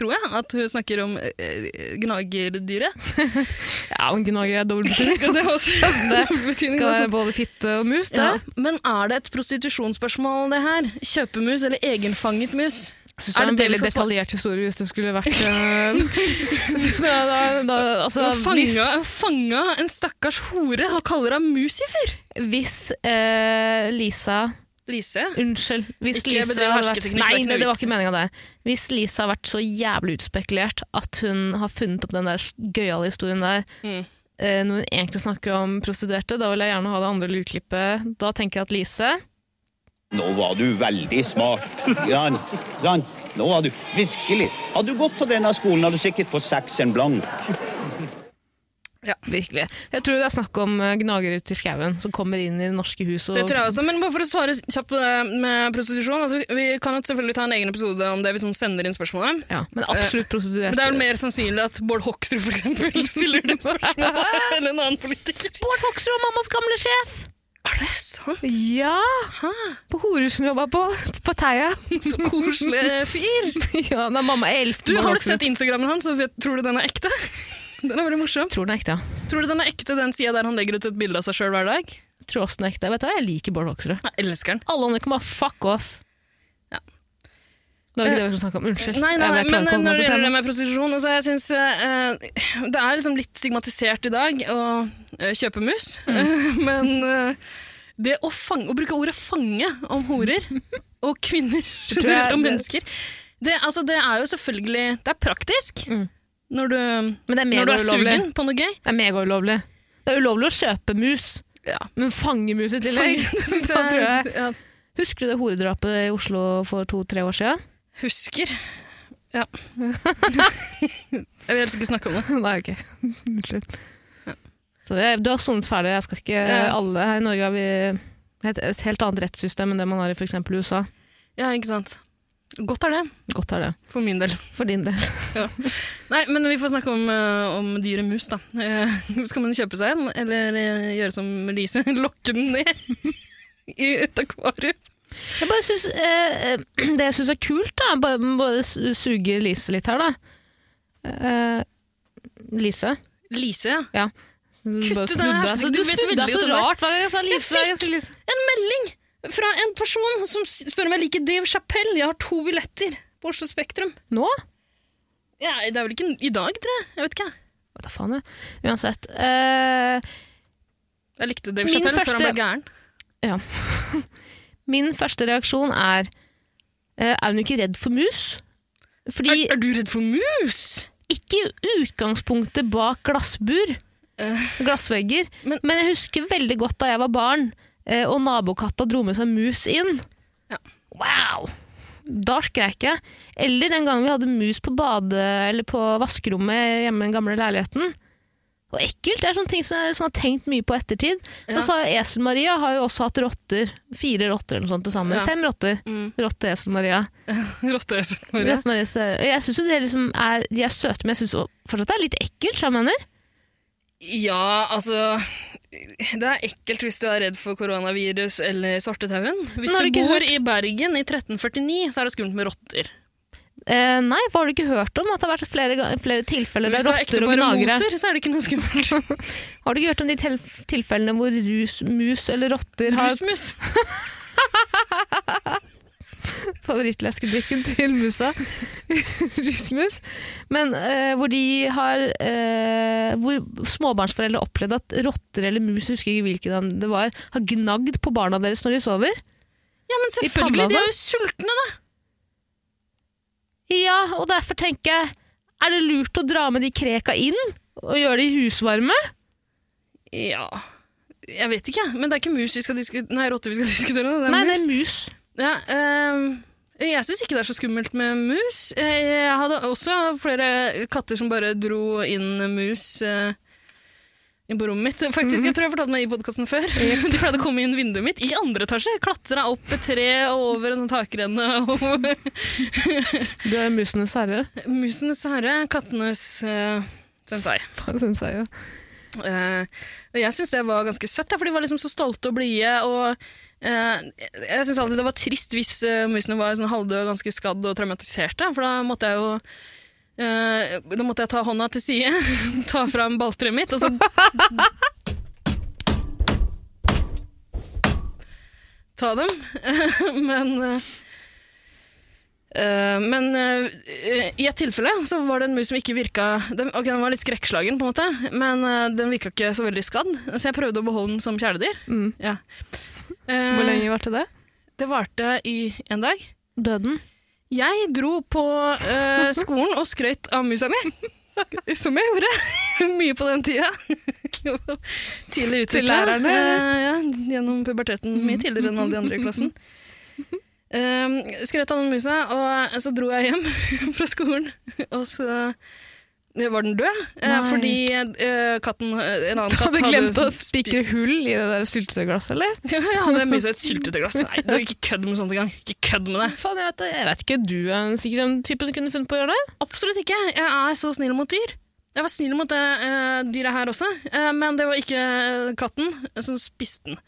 tror jeg, at hun snakker om eh,
<laughs>
gnagerdyret.
Ja, men gnager er
<laughs>
dobbelt betydning.
Ja, det er også <laughs> dobbel betydning.
Skal
altså.
være både fitte og mus, det.
Ja. Men er det et prostitusjonsspørsmål, det her? Kjøpemus eller egenfanget mus?
Synes jeg
Er liksom
er
det
en
det vi
veldig
skal spa-
detaljert historie hvis det skulle
<laughs>
vært eh, <laughs> så da, da, da, altså,
Hun
Hvis,
fanga, fanga en stakkars hore og kaller henne Musifer!
hvis eh, Lisa
Lise?
Unnskyld. Hvis
Ikke
Lisa
bedriv
hadde
hersketeknikk,
vært,
det er
nei,
ikke noe
det, det var
vits.
ikke meningen det. Hvis Lisa har vært så jævlig utspekulert at hun har funnet opp den der gøyale historien der
Mm.
eh, når hun egentlig snakker om prostituerte, da vil jeg gjerne ha det andre lydklippet. Da tenker jeg at Lise
Nå var du veldig smart. Sant? Sant? Nå var du virkelig Hadde du gått på denne skolen, hadde du sikkert fått seks en blank.
Virkelig. Jeg tror det er snakk om eh, gnagere ute i skauen som kommer inn i det norske hus og
Det tror jeg også, men bare for å svare kjapt på det med prostitusjon altså, vi- Vi kan jo selvfølgelig ta en egen episode om det hvis noen sender inn spørsmålet.
ja, Men absolutt prostituerte.
Eh, Men det er vel mer sannsynlig at Bård Hoksrud for <laughs> eksempel stiller det <laughs> spørsmålet enn en annen politiker.
Bård Hoksrud og mammas gamle sjef!
Er det sant?
Ja! På Horusen jobba på, på Teia.
Så koselig fyr.
<laughs> ja, nei, mamma jeg elsker
Du,
Bård
Har du
Hoksrud.
sett Instagrammen hans, og vet- tror du den er ekte? <laughs> Den er veldig morsom.
Tror den er ekte, ja.
Tror du den er ekte, den sida der han legger ut et bilde av seg sjøl hver dag?
Tror også den er ekte. Vet du hva, jeg liker Bård Hoksrud.
Jeg elsker den.
Alle andre kan bare fuck off.
Ja. Eh,
Det var ikke det vi skulle snakke om. Unnskyld.
Nei, nei,
Jeg-
nei,
jeg
men
klarer
eh,
ikke å
når det gjelder det
holde meg på tema.
med prostitusjon altså, jeg synes, eh, Det er liksom litt stigmatisert i dag å eh, kjøpe mus,
Mm.
<laughs> men eh, det å, fange, å bruke ordet 'fange' om
<laughs>
horer og kvinner
tror jeg
generelt, om
det-
mennesker det, altså, det er jo selvfølgelig Det er praktisk
Mm.
når, du,
Men det er
når du er
megaulovlig.
sugen på noe
<laughs>
gøy.
Det er megaulovlig. Det er ulovlig å kjøpe mus,
Ja.
men fange mus i tillegg.
Fange, det
<laughs>
synes
Da tror
<laughs>
jeg-
jeg, jeg
Husker du det horedrapet i Oslo for to-tre år siden?
husker. Ja.
<laughs>
jeg vil helst ikke snakke om det.
Nei, ok. Unnskyld. Så jeg, du har sonet ferdig. Jeg skal ikke
Ja.
alle her i Norge har vi et, et helt annet rettssystem enn det man har i for eksempel USA.
Ja, ikke sant. Godt er det,
Godt er det.
for min del.
For din del.
Nei, men vi får snakke om, uh, om dyre mus, da. Eh, skal man kjøpe seg en, eller eh, gjøre som Lise, <laughs> lokke den ned <laughs> i et akvarium?
<laughs> Jeg bare synes, eh, eh, det jeg syns er kult, da Bare, bare su- suge Lise litt her, da. Eh, Lise?
Lise, ja.
Kutt
ut den her,
så
du
Du
vet
snudde
veldig
deg så
godt om det.
rart hver gang jeg sa Lise. hver gang jeg sa Lise.
En melding fra en person som s- spør om jeg liker Dave Chappelle. Jeg har to billetter på Oslo Spektrum.
Nå?
Ja, det er vel ikke i dag, tror jeg. Jeg vet ikke. jeg.
Hva da faen, jeg. Uansett. Eh,
Jeg likte Dave
Min
Chappelle før han
første-
ble gæren.
min første reaksjon er eh, Er hun ikke redd for mus?
Er,
Fordi
er du redd for mus? <laughs>
ikke i utgangspunktet bak glassbur,
Eh.
glassvegger,
Men-
men, jeg husker veldig godt da jeg var barn, eh, og nabokatta dro med seg mus inn.
Ja.
Wow! Da skrek jeg. Eller den gangen vi hadde mus på bade, eller på vaskerommet hjemme i den gamle leiligheten. Og ekkelt det er sånne ting som jeg liksom har tenkt mye på ettertid. Og så har Esel-Maria har jo også hatt rotter. Fire rotter eller noe sånt til sammen.
Ja.
Fem rotter.
Mm.
Rotte Esel-Maria.
Rottehøyser.
Rotte-Maria ser- Jeg syns jo det liksom er De er søte, men jeg syns fortsatt det er litt ekkelt, som jeg mener.
Ja, altså Det er ekkelt hvis du er redd for koronavirus eller svartetauen. Hvis
Nå har
du
du ikke
bor i Bergen i 1349, så er det skummelt med rotter.
Eh, nei, hva har du ikke hørt om? At det har vært flere, ga- flere tilfeller
Hvis du
av
er
rotter
ekte
og gnagere?
baromoser, så er det ikke noe skummelt.
<laughs> Har du ikke hørt om de tilf- tilfellene hvor rus, mus eller rotter har
Rusmus.
favorittleskedrikken <laughs> til musa. Rusmus. Men eh, hvor de har eh, Hvor småbarnsforeldre opplevde at rotter eller mus, jeg husker ikke hvilken av dem det var, har gnagd på barna deres når de sover.
Ja, men
I
selvfølgelig,
panna,
de er jo sultne, da.
Ja, og derfor tenker jeg Er det lurt å dra med de kreka inn? Og gjøre de husvarme?
Ja Jeg vet ikke, men det er ikke mus vi skal diskutere Nei, rotter vi skal <laughs> diskutere nå. Det er
Nei, det
mus.
er mus.
Ja, ehm, jeg syns ikke det er så skummelt med mus. Eh, Jeg hadde også flere katter som bare dro inn mus eh, inn på rommet mitt. Faktisk, Jeg tror jeg fortalte meg i podkasten før. <laughs> De pleide å komme inn vinduet mitt i andre etasje. Klatra opp et tre og over en sånn takrenne. <laughs> Og
Du er musenes herre,
musenes herre, kattenes eh, sensei.
syns jeg. Ja.
Eh, og jeg syns det var ganske søtt, ja, for de var liksom så stolte og blide. Og eh, jeg syns alltid det var trist hvis eh, musene var sånn halvdøde, og ganske skadd og traumatiserte, for da måtte jeg jo eh, da måtte jeg ta hånda til side, <laughs> ta fram balltreet mitt, og så Ta dem. <laughs> men eh, eh, men eh, i et tilfelle så var det en mus som ikke virka den, Ok, den var litt skrekkslagen, på en måte, men eh, den virka ikke så veldig skadd, så jeg prøvde å beholde den som kjæledyr.
Mm.
Ja.
Hvor
Eh,
lenge varte det?
det varte i en dag.
Døden.
Jeg dro på <laughs> eh, skolen og skrøt av musa mi. Som jeg gjorde. <laughs> Mye på den tida. <laughs> Tidlig utvikla.
Til lærerne,
Eh, ja, gjennom puberteten. Mye tidligere enn alle de andre i <laughs> klassen. Um, skrøt av den musa, og så dro jeg hjem <laughs> fra skolen. Og så var den død, eh,
Nei.
fordi eh, katten, en annen
Du
katt
hadde glemt å
spist-
spikre hull i det der syltetøyglasset, eller?
<laughs> Ja, jeg hadde musa i et syltetøyglass. Nei, du, ikke kødd med sånt engang. Ikke kødd med det.
Faen, jeg, vet, det. jeg vet ikke, du er sikkert en type som kunne funnet på å gjøre det.
Absolutt ikke. Jeg er så snill mot dyr. Jeg var snill mot det eh, dyret her også, eh, men det var ikke eh, katten som spiste den.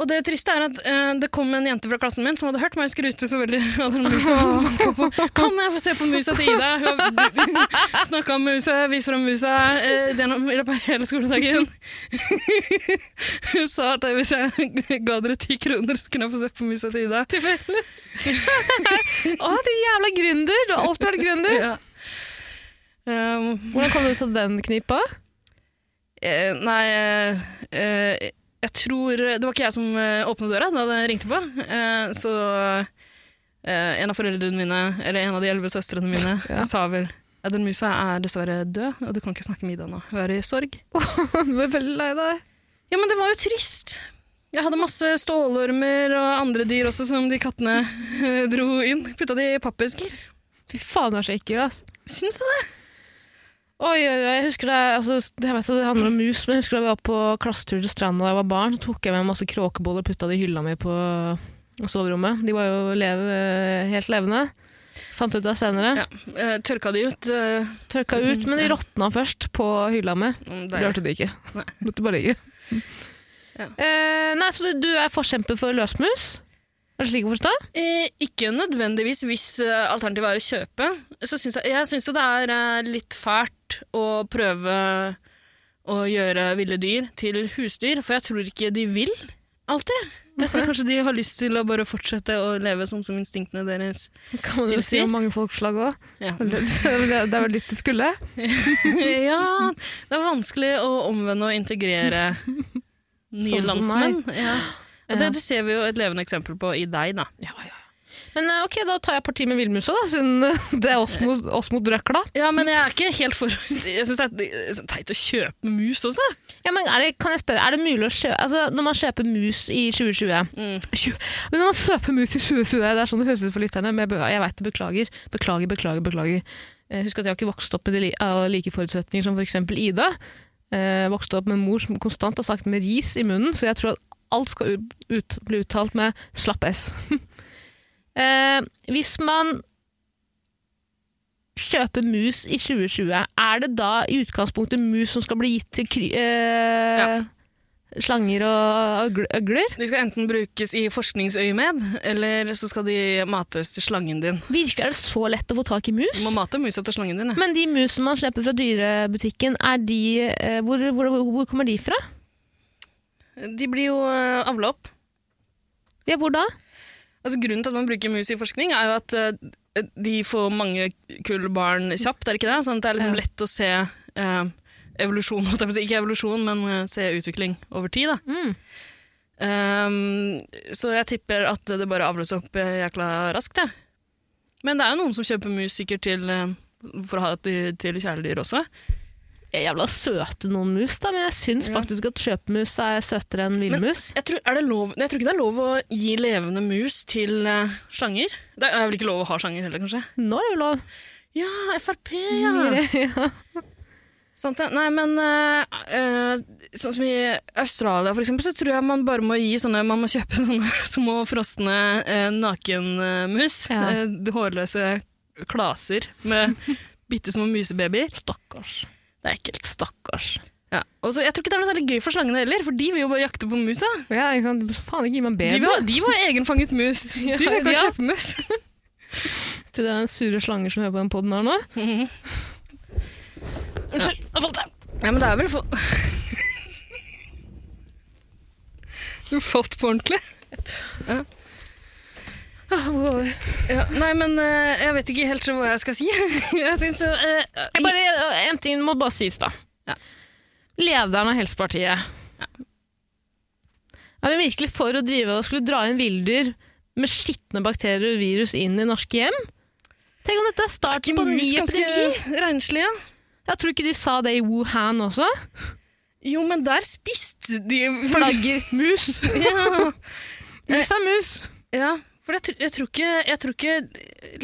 Og det triste er at eh, det kom en jente fra klassen min som hadde hørt meg skrute så veldig <laughs> av den musa. og banka på. Kan jeg få se på musa til Ida? Hun har <laughs> snakka om musa, vist fram musa eh, gjennom- i løpet av hele skoledagen. <laughs> Hun sa at hvis jeg ga dere ti kroner, så kunne jeg få se på musa til Ida.
Å, din jævla gründer! Du har alltid vært gründer.
Ja. Um,
Hvordan kom du til den knipa? <laughs>
Eh, nei eh, eh, Jeg tror Det var ikke jeg som eh, åpnet døra da det ringte på. Eh, så eh, en av foreldrene mine, eller en av de elleve søstrene mine,
Ja.
sa vel ja, den musa er dessverre død, og du kan ikke snakke med Ida nå. Hun er i sorg.
Du ble veldig lei deg.
Ja, men det var jo trist. Jeg hadde masse stålormer og andre dyr også som de kattene eh, dro inn. Putta de i pappesker.
Fy faen, du er så ekkel, ass.
Syns du det?
Oi, oi, oi, jeg husker det, altså, jeg vet at det handler om mus, men jeg husker da vi var på klassetur til stranda da jeg var barn, så tok jeg med masse kråkeboller og putta det i hylla mi på soverommet. De var jo leve, helt levende. Fant ut det senere.
Ja. Eh, tørka de ut. eh,
Tørka ut, men de råtna først på hylla mi.
mm,
Deilig.
deilig.
Rørte det ikke. <laughs>
Nei.
Lot det bare ligge.
Ja.
Eh, nei, så du, du er forkjemper for løsmus? Er det slik å forstå?
Eh, ikke nødvendigvis hvis eh, alternativet er å kjøpe. Så syns jeg, jeg syns jo det er eh, litt fælt å prøve å gjøre ville dyr til husdyr, for jeg tror ikke de vil alltid. Jeg tror kanskje de har lyst til å bare fortsette å leve sånn som instinktene deres.
Kan man jo si
Tilsier.
om mange folkeslag òg. <laughs>
Ja.
Det det er vel litt du skulle.
<laughs> ja, det er vanskelig å omvende og
<laughs>
integrere nye
Sånn som
landsmenn. Ja. Og
Ja.
det, det ser vi jo et levende eksempel på i deg, da.
Men eh, ok, da tar jeg parti med villmusa, da, siden <laughs> eh, det er oss mot, oss mot røkla.
Ja, men jeg er ikke helt for Jeg syns det er teit å kjøpe mus også.
Ja, men er det, kan jeg spørre, er det mulig å kjøpe altså, Når man kjøper mus i 2020
Mm.
Tju- Men når man kjøper mus i 2020 Det er sånn det høres ut for lytterne, men jeg, be- jeg vet det. Beklager. Beklager, beklager, beklager. Eh, Husk at jeg har ikke vokst opp med de li- av like forutsetninger som f.eks. Ida. eh, vokste opp med en mor som konstant har sagt med ris i munnen, så jeg tror at alt skal ut, ut, bli uttalt med slapp S. <laughs> eh, hvis man kjøper mus i 2020, er det da i utgangspunktet mus som skal bli gitt til kry, eh,
Ja.
slanger og øgl- øgler?
De skal enten brukes i forskningsøyemed, eller så skal de mates til slangen din.
Virkelig er det så lett å få tak i
Du
mus?
må mate musa til slangen din, ja.
Men de musene man slipper fra dyrebutikken, er de, eh, hvor, hvor, hvor kommer de fra?
De blir jo eh, avla opp.
Ja, hvor da?
Altså, grunnen til at man bruker mus i forskning, er jo at eh, de får mange kull barn kjapt, er det ikke det? Sånn at det er liksom
Ja.
lett å se eh, evolusjon, holdt jeg på å si. ikke evolusjon, men eh, se utvikling over tid. Da.
Mm.
Ehm, så jeg tipper at det bare avles opp eh, jækla raskt. jeg. Men det er jo noen som kjøper mus sikkert til, eh, for å ha til, til kjæledyr også.
er jævla søte noen mus, da, men jeg syns faktisk at kjøpemus er søtere enn villmus.
Jeg tror, er det lov, jeg tror ikke det er lov å gi levende mus til eh, slanger. Det er vel ikke lov å ha slanger heller, kanskje?
Nå er det jo lov.
Ja, Frp, <laughs> ja! Sant det? Nei, men eh, eh, sånn som i Australia for eksempel, så tror jeg man bare må gi sånne, man må kjøpe <laughs> sånne små frosne eh, nakenmus,
Ja.
eh, hårløse klaser
<laughs>
med bittesmå musebabyer.
Stakkars.
Det er ekkelt.
Stakkars.
Ja. Og så, jeg tror ikke det er noe særlig gøy for slangene heller, for de vil jo bare jakte på musa.
Ja, ikke sant? Faen, ikke gi meg en
De
baby.
vil ha, de vil ha egenfanget mus. De vil ikke ha
<laughs> Ja.
kjøpemus.
Til det er den sure slanger som hører på den poden her nå. Mhm. Unnskyld, jeg falt der.
Nei, men det er vel for... Du har fått på ordentlig. Ja. Ah, Ja, nei, men eh, jeg vet ikke helt hva jeg skal si. <laughs> Jeg synes jo... eh,
Jeg bare, en ting må bare sies, da.
Ja.
Lederen av Helsepartiet. Er hun virkelig for å drive og skulle dra inn villdyr med skitne bakterier og virus inn i norske hjem? Tenk om dette er starten på en ny epidemi!
ganske renslig, ja.
Jeg tror ikke de sa det i Wuhan også.
Jo, men der spiste de...
Flagger <laughs> mus.
Ja,
Mus er mus.
<laughs> ja. For jeg, tr- jeg, tror ikke, jeg tror ikke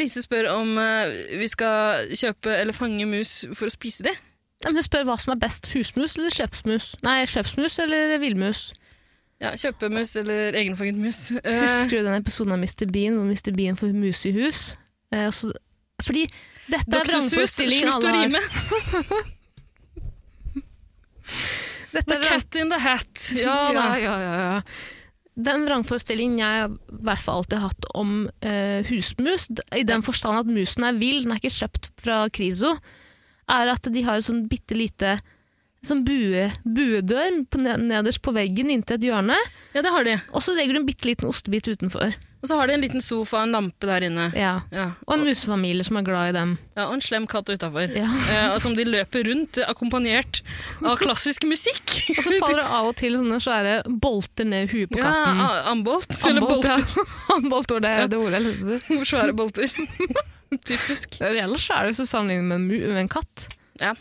Lise spør om eh, vi skal kjøpe eller fange mus for å spise det.
Ja, men hun spør hva som er best, husmus eller kjøpsmus? Nei, kjøpsmus eller villmus?
Ja, kjøpe mus eller egenfanget mus. Eh,
Husker du den episoden av Mr. Bean hvor Mr. Bean får mus i hus? Eh, og så, fordi dette er
Dr. Seuss,
vrangforestillingen
slutt å
alle har.
rime.
Dette
The
er vrang-
cat in the hat. Ja,
<laughs> ja,
nei.
ja, ja, ja. Den vrangforestillingen jeg i hvert fall alltid har hatt om eh, husmus, d- i den forstand at musen er vill, den er ikke kjøpt fra Kriso, er at de har et sånn bitte lite sånn bue, buedør på, ne- nederst på veggen inntil et hjørne,
ja, det har de.
og så legger du en bitte liten ostebit utenfor.
Og så har de en liten sofa og en lampe der inne.
Ja.
Ja,
Og en musefamilie som er glad i dem.
ja Og en slem katt utafor.
Ja.
<laughs> Eh, og som de løper rundt, eh, akkompagnert av klassisk musikk.
Og så faller det av og til sånne svære bolter ned i huet på
Ja,
katten.
a- Ambolt. Eller
Ambolt,
bolter. <laughs>
<laughs> ja. Ambolt var det, det ordet jeg lette etter.
Svære bolter. Typisk.
Ellers er det så sammenlignet med en, mu- med en katt.
Ja.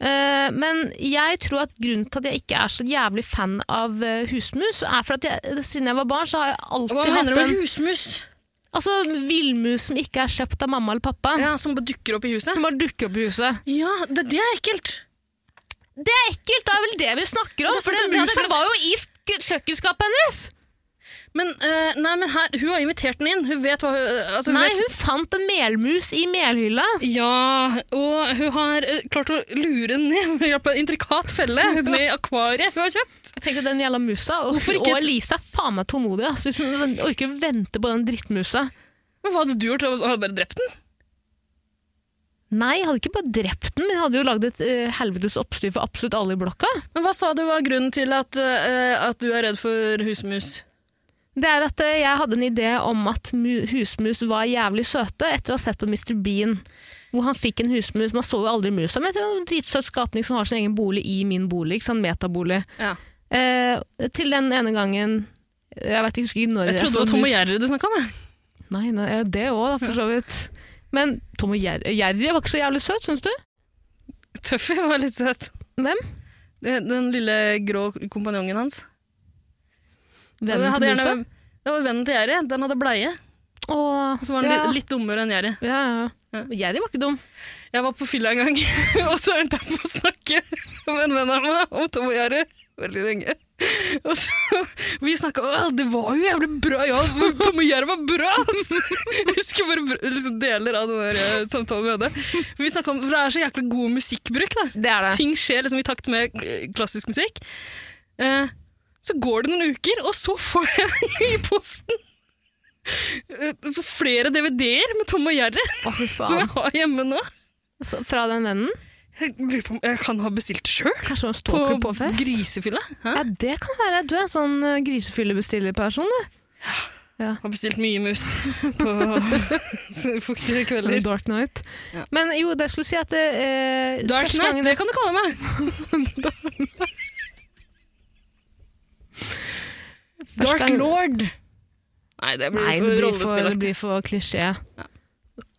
Eh, men jeg tror at grunnen til at jeg ikke er så jævlig fan av eh, husmus, er for at jeg, siden jeg var barn, så har jeg
Hva
alltid
mener
hatt
du
en
med husmus?
Altså villmus som ikke er kjøpt av mamma eller pappa.
Ja, Som bare dukker opp i huset?
Som bare dukker opp i huset.
Ja, det, det er ekkelt.
Det er ekkelt! Det er vel det vi snakker om!
Det-
For
det-
den
det-
musa
det-
var jo i sk- kjøkkenskapet hennes!
Men, eh, nei, men her, hun har invitert den inn. Hun vet hva hun altså, hun
Nei,
vet-
hun fant en melmus i melhylla.
Ja, og hun har eh, klart å lure den ned ved hjelp av en intrikat <laughs> felle ned i akvariet hun har kjøpt.
Jeg tenker den jævla musa, og,
Hvorfor ikke
og
et-
Lisa er faen meg tålmodig. ass. Hvis hun ven- orker å vente på den drittmusa.
Men hva hadde du gjort? Hadde du bare drept den?
Nei, jeg hadde ikke bare drept den, men jeg hadde jo lagd et eh, helvetes oppstyr for absolutt alle i blokka.
Men hva sa du var grunnen til at, eh, at du er redd for husmus?
Det er at eh, jeg hadde en idé om at mu husmus var jævlig søte etter å ha sett på Mr. Bean. Hvor han fikk en husmus. Man så jo aldri musa, men det er en dritsøt skapning som har sin egen bolig i min bolig. ikke sant, metabolig.
Ja.
Eh, til den ene gangen Jeg vet ikke, jeg husker ikke når
Jeg trodde det
så
var Tom og
mus.
Jerry du snakka <laughs> om. jeg.
Nei, nei ja, det òg, for så vidt. Men Tom og Jerry, Jerry var ikke så jævlig søt, syns du?
Tøffy var litt søt.
Hvem?
Det- Den lille grå kompanjongen hans. Den
Vennen
hadde
til Musa?
gjerne- Det var vennen til Jerry. Den hadde bleie.
Og
Og så var han
ja.
litt, litt dummere enn Jerry.
Ja, ja.
Ja.
Jerry var ikke dum.
Jeg var på fylla en gang, <laughs> og så endte jeg på å snakke med en venn av meg om Tom og Jerry veldig lenge. Og så, vi snakka om det var jo jævlig bra, ja, men Tom og Jerry var bra! ass!» Jeg husker bare br- liksom deler av den der eh, samtalen vi hadde. Vi snakket om, for Det er så jæklig god musikkbruk. da.
Det er
Ting skjer liksom i takt med eh, klassisk musikk. Eh, så går det noen uker, og så får jeg <laughs> i posten eh, så flere DVD-er med Tom og Jerry
Å,
<laughs>
fy
som
faen.
jeg har hjemme nå.
Så, fra den vennen?
Jeg, lurer på om jeg kan ha bestilt det sjøl.
Kanskje han stalker på, fest?
grisefylla. Hæ?
Ja, det kan være. Du er en sånn eh, grisefyllebestillerperson, du.
Har bestilt mye mus <laughs> på sånne fuktige
Eller
kvelder.
Dark Knight.
Ja.
Men jo, det skulle si at eh,
Dark
første
Knight,
gangen-
det kan du kalle meg.
første
Dark
gangen-
Lord. Nei, det blir
Nei,
for
det blir for, det
rollespillaktig.
blir for klisjé.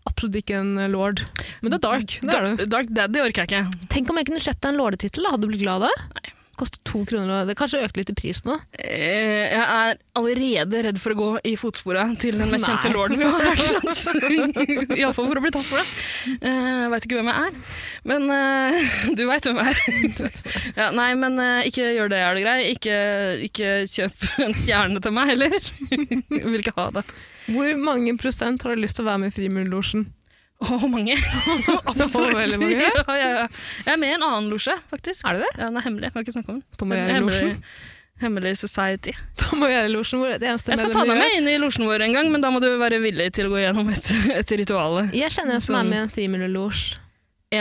Absolutt ikke en eh, lord. Men det er dark. Det er det.
Da- Dark Daddy orker jeg ikke.
Tenk om jeg kunne kjøpt deg en lordetittel. da. Hadde du blitt glad av det? Kostet to kroner. og- Det kanskje økte litt i pris nå.
Eh, Jeg er allerede redd for å gå i fotsporet til den mest
Nei.
kjente lorden vi har
<laughs>
<laughs> i Iallfall for å bli tatt for det. Eh, Jeg veit ikke hvem jeg er, men eh, <laughs> du veit hvem jeg
<laughs>
er. ja, nei, men eh, ikke gjør det, er det grei. Ikke, ikke kjøp <laughs> en stjerne til meg heller. <laughs> Jeg vil ikke ha det.
Hvor mange prosent har du lyst til å være med i Frimurlosjen?
Å,
<laughs>
mange.
Det
Absolutt.
var veldig mange.
<laughs> Ja, ja, ja. Jeg er med i en annen losje, faktisk.
Er det det?
Ja, den er hemmelig. Jeg kan ikke snakke om den.
Tom og
Den er
Jerry-losjen?
hemmelig- Hemmelig Society.
<laughs> Tom og Jerry-losjen, hvor det eneste
Jeg skal ta
medlemmet
deg med
gjør-
inn i losjen vår en gang, men da må du være villig til å gå gjennom et, et ritual.
Jeg kjenner en som
Sånn.
er med i en frimurlosj.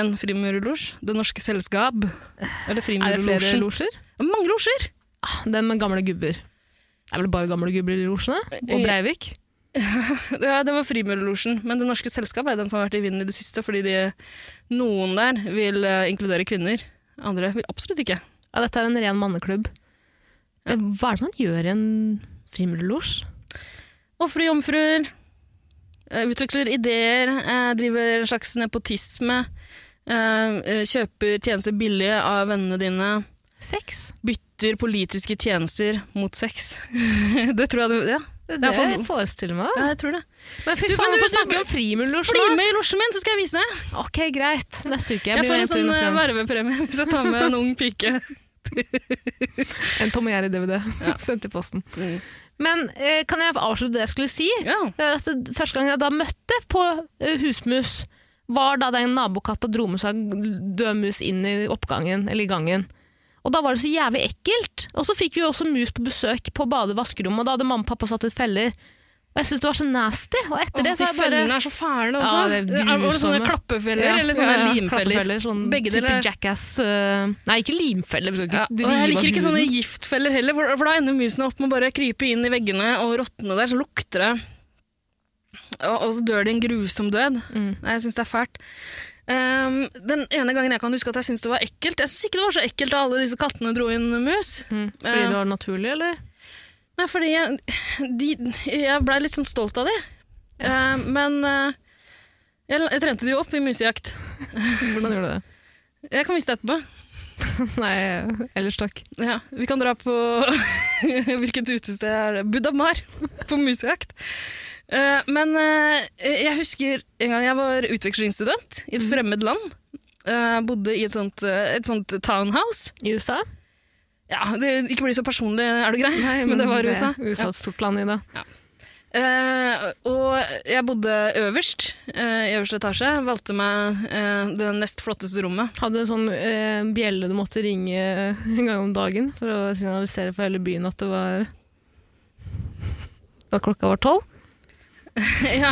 En frimurlosj, Det Norske Selskap, eller
Er det flere
Frimurlosjen.
losjer?
Mange losjer!
Ah, Den med gamle gubber. Det er vel bare gamle gubber i losjene? Og Breivik?
Ja, det var Frimurlosjen, men Det Norske Selskap er den som har vært i vinden i det siste, fordi de, noen der vil eh, inkludere kvinner. Andre vil absolutt ikke.
Ja, dette er en ren manneklubb. Eh, Hva er det man gjør i en frimurlosj?
Ofre jomfruer. eh, Utvikler ideer. eh, Driver en slags nepotisme. eh, eh, Kjøper tjenester billig av vennene dine.
Sex?
Bytter politiske tjenester mot sex. <laughs> det tror jeg det ja.
Det,
Det er
jeg
for-
forestiller meg.
ja, jeg tror det.
Men fy
Du, men
faen,
du-
hvorfor
du-
snakker vi om frimurlosj
Bli
nå?
med i losjen min, så skal jeg vise deg.
Ok, greit. Neste uke.
Jeg,
Jeg
får
blir med
en
til
sånn
neste
eh,
gang.
vervepremie <laughs> hvis jeg tar med en ung pike.
En Tom og Jerry-DVD <laughs> sendt i posten. Men eh, kan jeg avslutte det jeg skulle si?
Ja.
Det er at det- Første gang jeg da møtte på eh, husmus, var da den nabokatta dro med seg død mus inn i oppgangen, eller i gangen. Og da var det så jævlig ekkelt. Og så fikk vi jo også mus på besøk på badevaskerommet, og da hadde mamma og pappa satt ut feller. Og jeg syntes det var så nasty. Og etter
Åh,
det
de
så har jeg bare
fellene er så fæle også.
Ja, det er
var det sånne
grusomme.
klappefeller
Ja,
eller sånne
ja, ja,
limfeller?
klappefeller, Sånn
Begge
type
deler.
Jackass eh, Nei, ikke limfeller. Vi skal ikke
Ja, og
drive
jeg
av
liker ikke sånne
huden.
giftfeller heller, for, for da ender musene opp med å bare krype inn i veggene og råtne der, så lukter det. Og, og så dør de en grusom død. Nei, Jeg syns det er fælt. Ehm, den ene gangen jeg kan huske at jeg syntes det var ekkelt Jeg syns ikke det var så ekkelt da alle disse kattene dro inn mus.
Mm, Fordi
Eh.
det var naturlig, eller?
Nei, fordi jeg, de, jeg ble litt sånn stolt av de. Ehm, men eh, jeg, jeg trente de jo opp i musejakt.
Hvordan gjorde du det?
Jeg kan vise det etterpå.
Nei, ellers takk.
Ja, vi kan dra på <laughs> Hvilket utested er det? Budamar, på musejakt. Eh, men eh, jeg husker en gang jeg var utvekslingsstudent i et fremmed land. Eh, bodde i et sånt, eh, et sånt townhouse.
I USA?
Ja, det, Ikke bli så personlig, er du grei?
<laughs>
<laughs> men, det var USA.
USA er
Ja.
et stort land, Ida.
Eh, og jeg bodde øverst, eh, i øverste etasje. Valgte meg eh, det nest flotteste rommet.
Hadde du en sånn eh, bjelle du måtte ringe eh, en gang om dagen for å signalisere for hele byen at det var Da klokka var tolv?
<laughs> ja.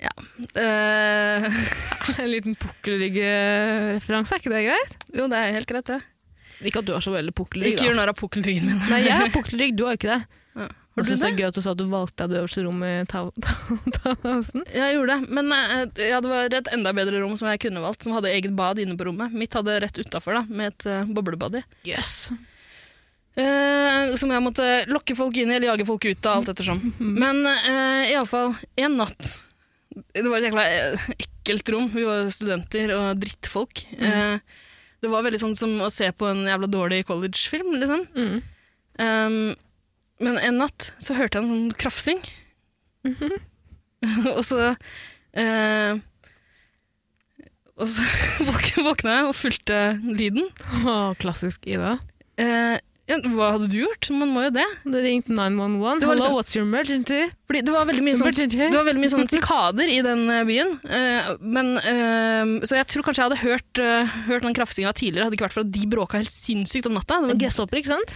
ja. eh,
En liten pukkelrygg-referanse, er ikke det greit?
Jo, det er helt greit, det.
Ikke at du har så veldig pukkelrygg,
Ikke gjør narr av pukkelryggen min.
Nei, jeg har pukkelrygg, du har jo ikke det.
Ja. du
Har du det? er gøy at du sa at du valgte deg det øverste rommet i Tau- <laughs> Tau- Tauhausen.
Jeg gjorde det, men eh, ja, det var et enda bedre rom som jeg kunne valgt, som hadde eget bad inne på rommet. Mitt hadde rett utafor, da, med et uh, boblebad i.
Yes.
Eh, som jeg måtte lokke folk inn i eller jage folk ut av, alt ettersom. Men uh, iallfall, en natt Det var et jækla eh, ekkelt rom. Vi var studenter og drittfolk. Eh, det var veldig sånn som å se på en jævla dårlig collegefilm, liksom.
Mm.
Um, Men en natt så hørte jeg en sånn krafsing. <laughs> og så eh, Og så <laughs> våk- våkna jeg og fulgte lyden.
Å, klassisk Ida.
Eh, ja, hva hadde du gjort? Man må jo det.
Det ringte 911.
Det var
Hello,
liksom-
what's your emergency?
Fordi det var veldig mye sånn,
Emergency.
det var veldig mye sånn sikader i den eh, byen. Eh, men, eh, så jeg tror kanskje jeg hadde hørt, eh, hørt den krafsinga tidligere, hadde det ikke vært for at de bråka helt sinnssykt om natta. Det var
Gresshopper, ikke sant?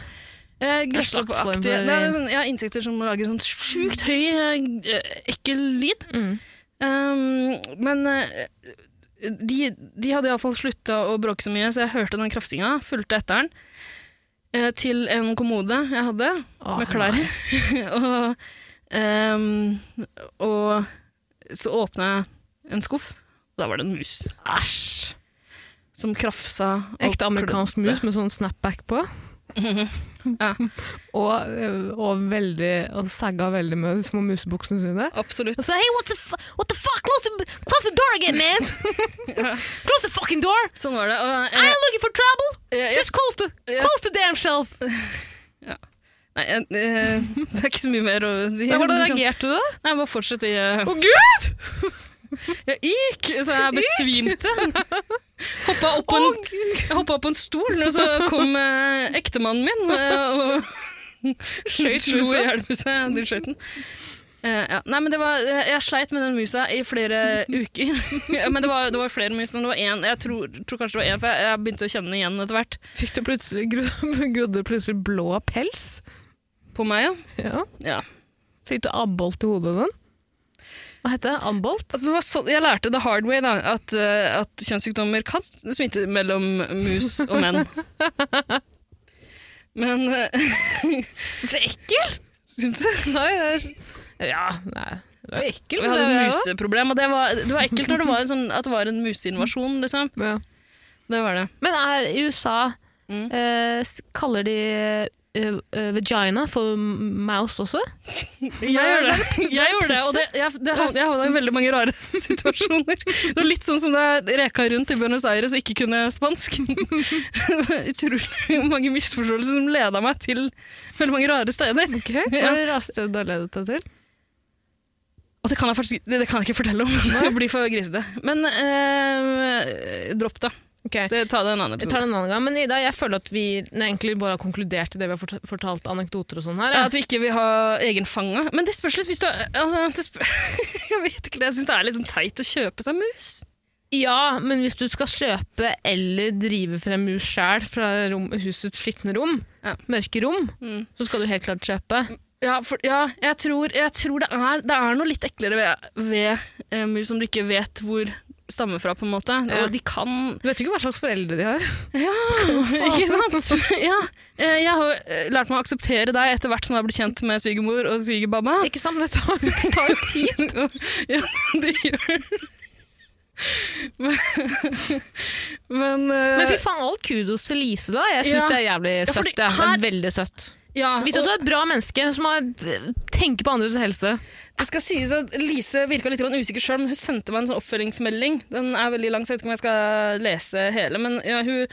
Eh,
En slags form
Gresshoppeaktige
for- eh,
Det er sånn, ja, insekter som lager sånn sjukt høy, eh, ekkel lyd.
Mm.
Um, men eh, de, de hadde iallfall slutta å bråke så mye, så jeg hørte den krafsinga, fulgte etter den. eh, Til en kommode jeg hadde,
Åh,
med klær. <laughs> og, um, og så åpna jeg en skuff, og da var det en mus
Æsj!
som krafsa. og
Ekte amerikansk
klødde.
mus med sånn snapback på.
Ja.
og, eh, og, veldig, og sagga veldig med de små musebuksene sine.
Absolutt.
Og så, hey, what the, fu- what the fuck? Close the, close the door again, man! <laughs> close the fucking door!
Sånn var det. Og, eh,
I'm looking for trouble!
eh, jeg
Just close the,
Yes.
close the damn shelf!
Nei, jeg, eh, det er ikke så mye mer å si.
Men Hvordan
Du kan-
reagerte du da?
Nei, bare fortsett i eh,
Å gud!
Jeg gikk, så jeg besvimte. <laughs> Hoppa opp på en, jeg hoppa opp på en stol, og så kom eh, ektemannen min eh, <laughs> og skjøt slo i hjel musa. Du skjøt den. Eh, ja. Nei, men det var, eh, jeg sleit med den musa i flere uker. <laughs> Ja, men det var, det var flere mus, men det var én. Jeg tror, tror kanskje det var én, for jeg, jeg begynte å kjenne den igjen etter hvert.
Fikk du plutselig, gro- <laughs> grodde plutselig blå pels?
På meg, ja.
Ja.
ja.
Fikk du abbolt i hodet den? Hva heter det? Abbolt?
Altså, det var så, jeg lærte the hard way da, at, eh, at kjønnssykdommer kan smitte mellom mus og menn. Men <laughs> uh,
Så ekkel!
syns jeg
Nei, det er... Ja, nei. Det var ekkel,
Vi hadde et museproblem, og det var, det var ekkelt når det var en, sånn, at det var en museinvasjon. Liksom.
Ja.
Det var det.
Men er i USA
Mm.
eh, s- Kaller de eh, eh, vagina for m- mouse også?
Jeg gjorde det, jeg gjorde det og det, jeg, det havna, jeg havna i veldig mange rare <laughs> situasjoner. Det var litt sånn som da jeg reka rundt i Buenos Aires og ikke kunne spansk. <laughs> Det var Utrolig mange misforståelser som leda meg til veldig mange rare steder.
Hva er det rareste du har ledet deg til?
Og det kan jeg faktisk det, det kan jeg ikke fortelle om. <laughs> det blir for grisete. Men eh, dropp det.
Ok.
det. Ta det en annen
Jeg
episode.
tar det en annen gang, men Ida, jeg føler at vi egentlig bare har konkludert i det vi har fort- fortalt anekdoter og sånn her.
Ja,
Ja.
at vi ikke vil ha egen fanga. Men det spørs litt hvis du er- altså, det spør, <laughs> Jeg vet ikke, jeg syns det er litt sånn teit å kjøpe seg mus.
Ja, men hvis du skal kjøpe eller drive frem mus sjæl fra rom, husets skitne rom,
Ja.
mørke rom,
Mm.
så skal du helt klart kjøpe.
Ja, for, ja jeg tror, jeg tror det, er, det er noe litt eklere ved, ved eh, mus som du ikke vet hvor stammer fra, på en måte.
Ja.
Og de <laughs> kan
Du vet jo ikke hva slags foreldre de har.
Ikke sant? <laughs> Ja. Eh, Jeg har eh, lært meg å akseptere deg etter hvert som jeg har blitt kjent med svigermor og svigerbabba.
Ikke sant, men det tar, det tar jo tid. <laughs>
ja, det gjør det. Men, men, eh,
Men fy faen, all kudos til Lise, da. Jeg syns
Ja.
det er jævlig
Ja, fordi
søtt. Ja, Det
her-
er veldig søtt.
ja,
Vite at du er et bra menneske som har, eh, tenker på andres helse.
Det skal sies at Lise virka litt grann usikker sjøl, men hun sendte meg en sånn oppfølgingsmelding. Den er veldig lang, så jeg vet ikke om jeg skal lese hele. Men ja, hun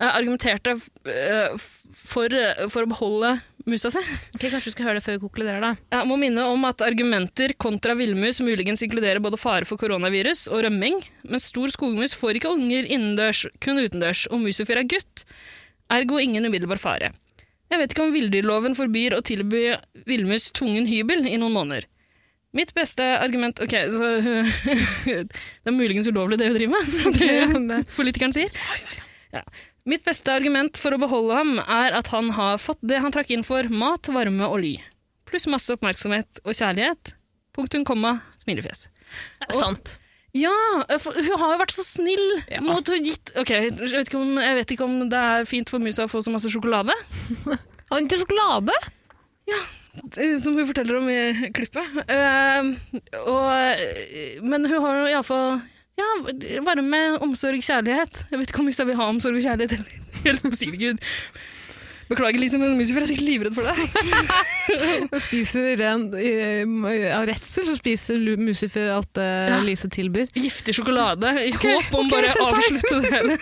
eh, argumenterte eh, f- for, eh, for å beholde musa si. <laughs>
Ok, Kanskje du skal høre det før vi konkluderer, da.
Jeg må minne om at argumenter kontra villmus muligens inkluderer både fare for koronavirus og rømming, men stor skogmus får ikke unger innendørs, kun utendørs, og musefyr er gutt, ergo ingen umiddelbar fare. Jeg vet ikke om villdyrloven forbyr å tilby villmus tvungen hybel i noen måneder. Mitt beste argument Ok, så <laughs> Det er muligens ulovlig, det hun driver med. <laughs> Det
det-
politikeren sier. Ja. Mitt beste argument for å beholde ham er at han har fått det han trakk inn for mat, varme og ly. Pluss masse oppmerksomhet og kjærlighet. Punktum, komma, smilefjes.
Det er sant.
Ja, for hun har jo vært så snill mot hun gitt Ok, jeg vet, ikke om, jeg vet ikke om det er fint for musa å få så masse sjokolade,
Har hun ikke sjokolade?
eh, som hun forteller om i klippet. Eh, og, eh, men hun har jo iallfall ja, varme, omsorg, kjærlighet. Jeg vet ikke om musa vil ha omsorg og kjærlighet heller. <laughs> Helt sikkert, Gud. Beklager, Lise, men musiker er sikkert livredd for det.
Hun spiser ren, i- av redsel så spiser lu- Lucifer alt det
Ja.
Lise tilbyr.
giftig sjokolade i håp om
ok,
bare
sensei.
å avslutte <laughs> det hele.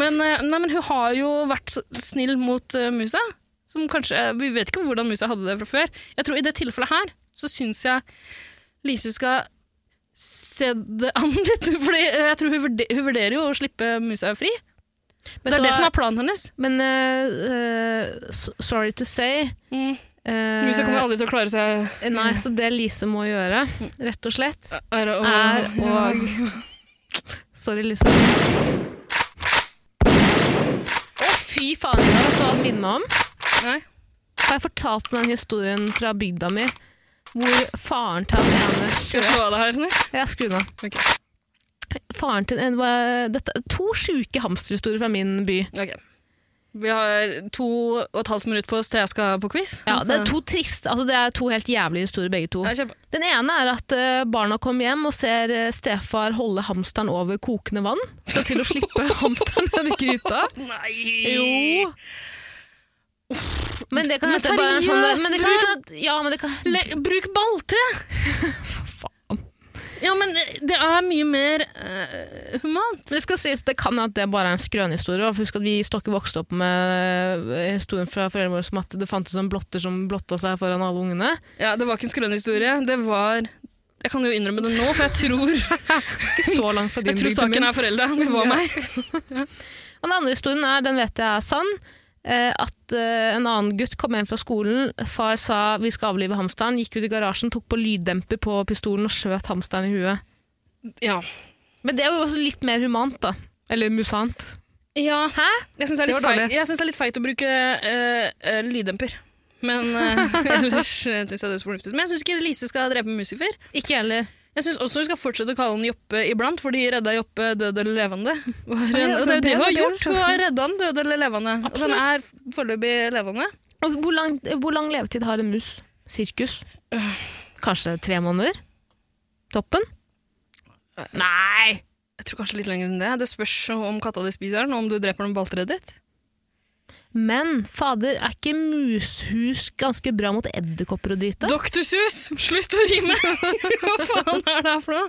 men, eh, nei, men hun har jo vært så snill mot eh, musa, Som kanskje, vi vet ikke hvordan musa hadde det fra før. Jeg tror I det tilfellet her så syns jeg Lise skal se det an litt. <laughs> Fordi eh, jeg tror hun vurderer, hun vurderer jo å slippe musa fri.
Men
det er
da-
det som er planen hennes.
Men eh, eh, s- sorry to say
Mm.
eh,
Musa kommer aldri til å klare seg.
Nei, så det Lise må gjøre, rett og slett,
Er og,
er og Sorry, Lise. Å, fy faen! Ida, Vet du hva han minner om?
Nei.
Har jeg fortalt om den historien fra bygda mi hvor faren til han ene
Skal jeg slå av det her? Sånn?
Jeg skrur nå.
Ok.
Faren til en, hva- dette, er To sjuke hamsterhistorier fra min by.
Ok. Vi har to og et halvt minutt på oss til jeg skal på quiz.
Ja, det er
Så-
to trist, altså det er to helt jævlige historier, begge to.
Ja, kjempe.
Den ene er at eh, barna kommer hjem og ser eh, stefar holde hamsteren over kokende vann. Skal til å
<laughs>
slippe hamsteren ned i gryta.
Nei!
Jo. Men det kan
Men
hende bare er sånn der- men det kan
seriøst,
hende at- Ja, men det kan
Le bruk balltre! Ja, men det er mye mer eh, humant.
Det skal sies, det kan at det bare er en skrønehistorie. og Husk at vi stokke vokste opp med eh, historien fra foreldrene våre som at det fantes en blotter som blotta seg foran alle
<laughs>
ungene.
Ja, Det var ikke en skrønehistorie. Det var Jeg kan jo innrømme det nå, for jeg tror, <laughs>
Ikke så langt fra din
jeg tror
bygd til min.
saken er forelda. Det var meg.
Og den andre historien er, den vet jeg er sann, eh, at eh, en annen gutt kom hjem fra skolen. Far sa vi skal avlive hamsteren, gikk ut i garasjen, tok på lyddemper på pistolen og skjøt hamsteren i huet.
Ja.
Men det er jo også litt mer humant, da. Eller musant.
ja.
Hæ?
Jeg syns det, er
Det
litt
var
feil-
dårlig.
jeg synes det er litt feigt å bruke eh, eh, lyddemper. Men eh,
<laughs>
ellers uh, syns jeg det høres fornuftig ut. Men jeg syns ikke Lise skal drepe Musifer.
Ikke jeg heller.
Jeg syns også hun skal fortsette å kalle han Joppe iblant, fordi redda Joppe død eller levende. Var en,
Ja,
og det er jo det hun har
det er
gjort. Hun har redda han død eller levende. Og den er foreløpig levende.
Og hvor lang, hvor lang levetid har en mus? Sirkus? Kanskje tre måneder? Toppen? Nei!
Jeg tror kanskje litt lenger enn det. Det spørs om katta di spiser den, og om du dreper den med balltreet ditt.
Men fader, er ikke mushus ganske bra mot edderkopper og drite?
Doktor Sus, slutt å rime! <laughs> Hva faen er det her for noe?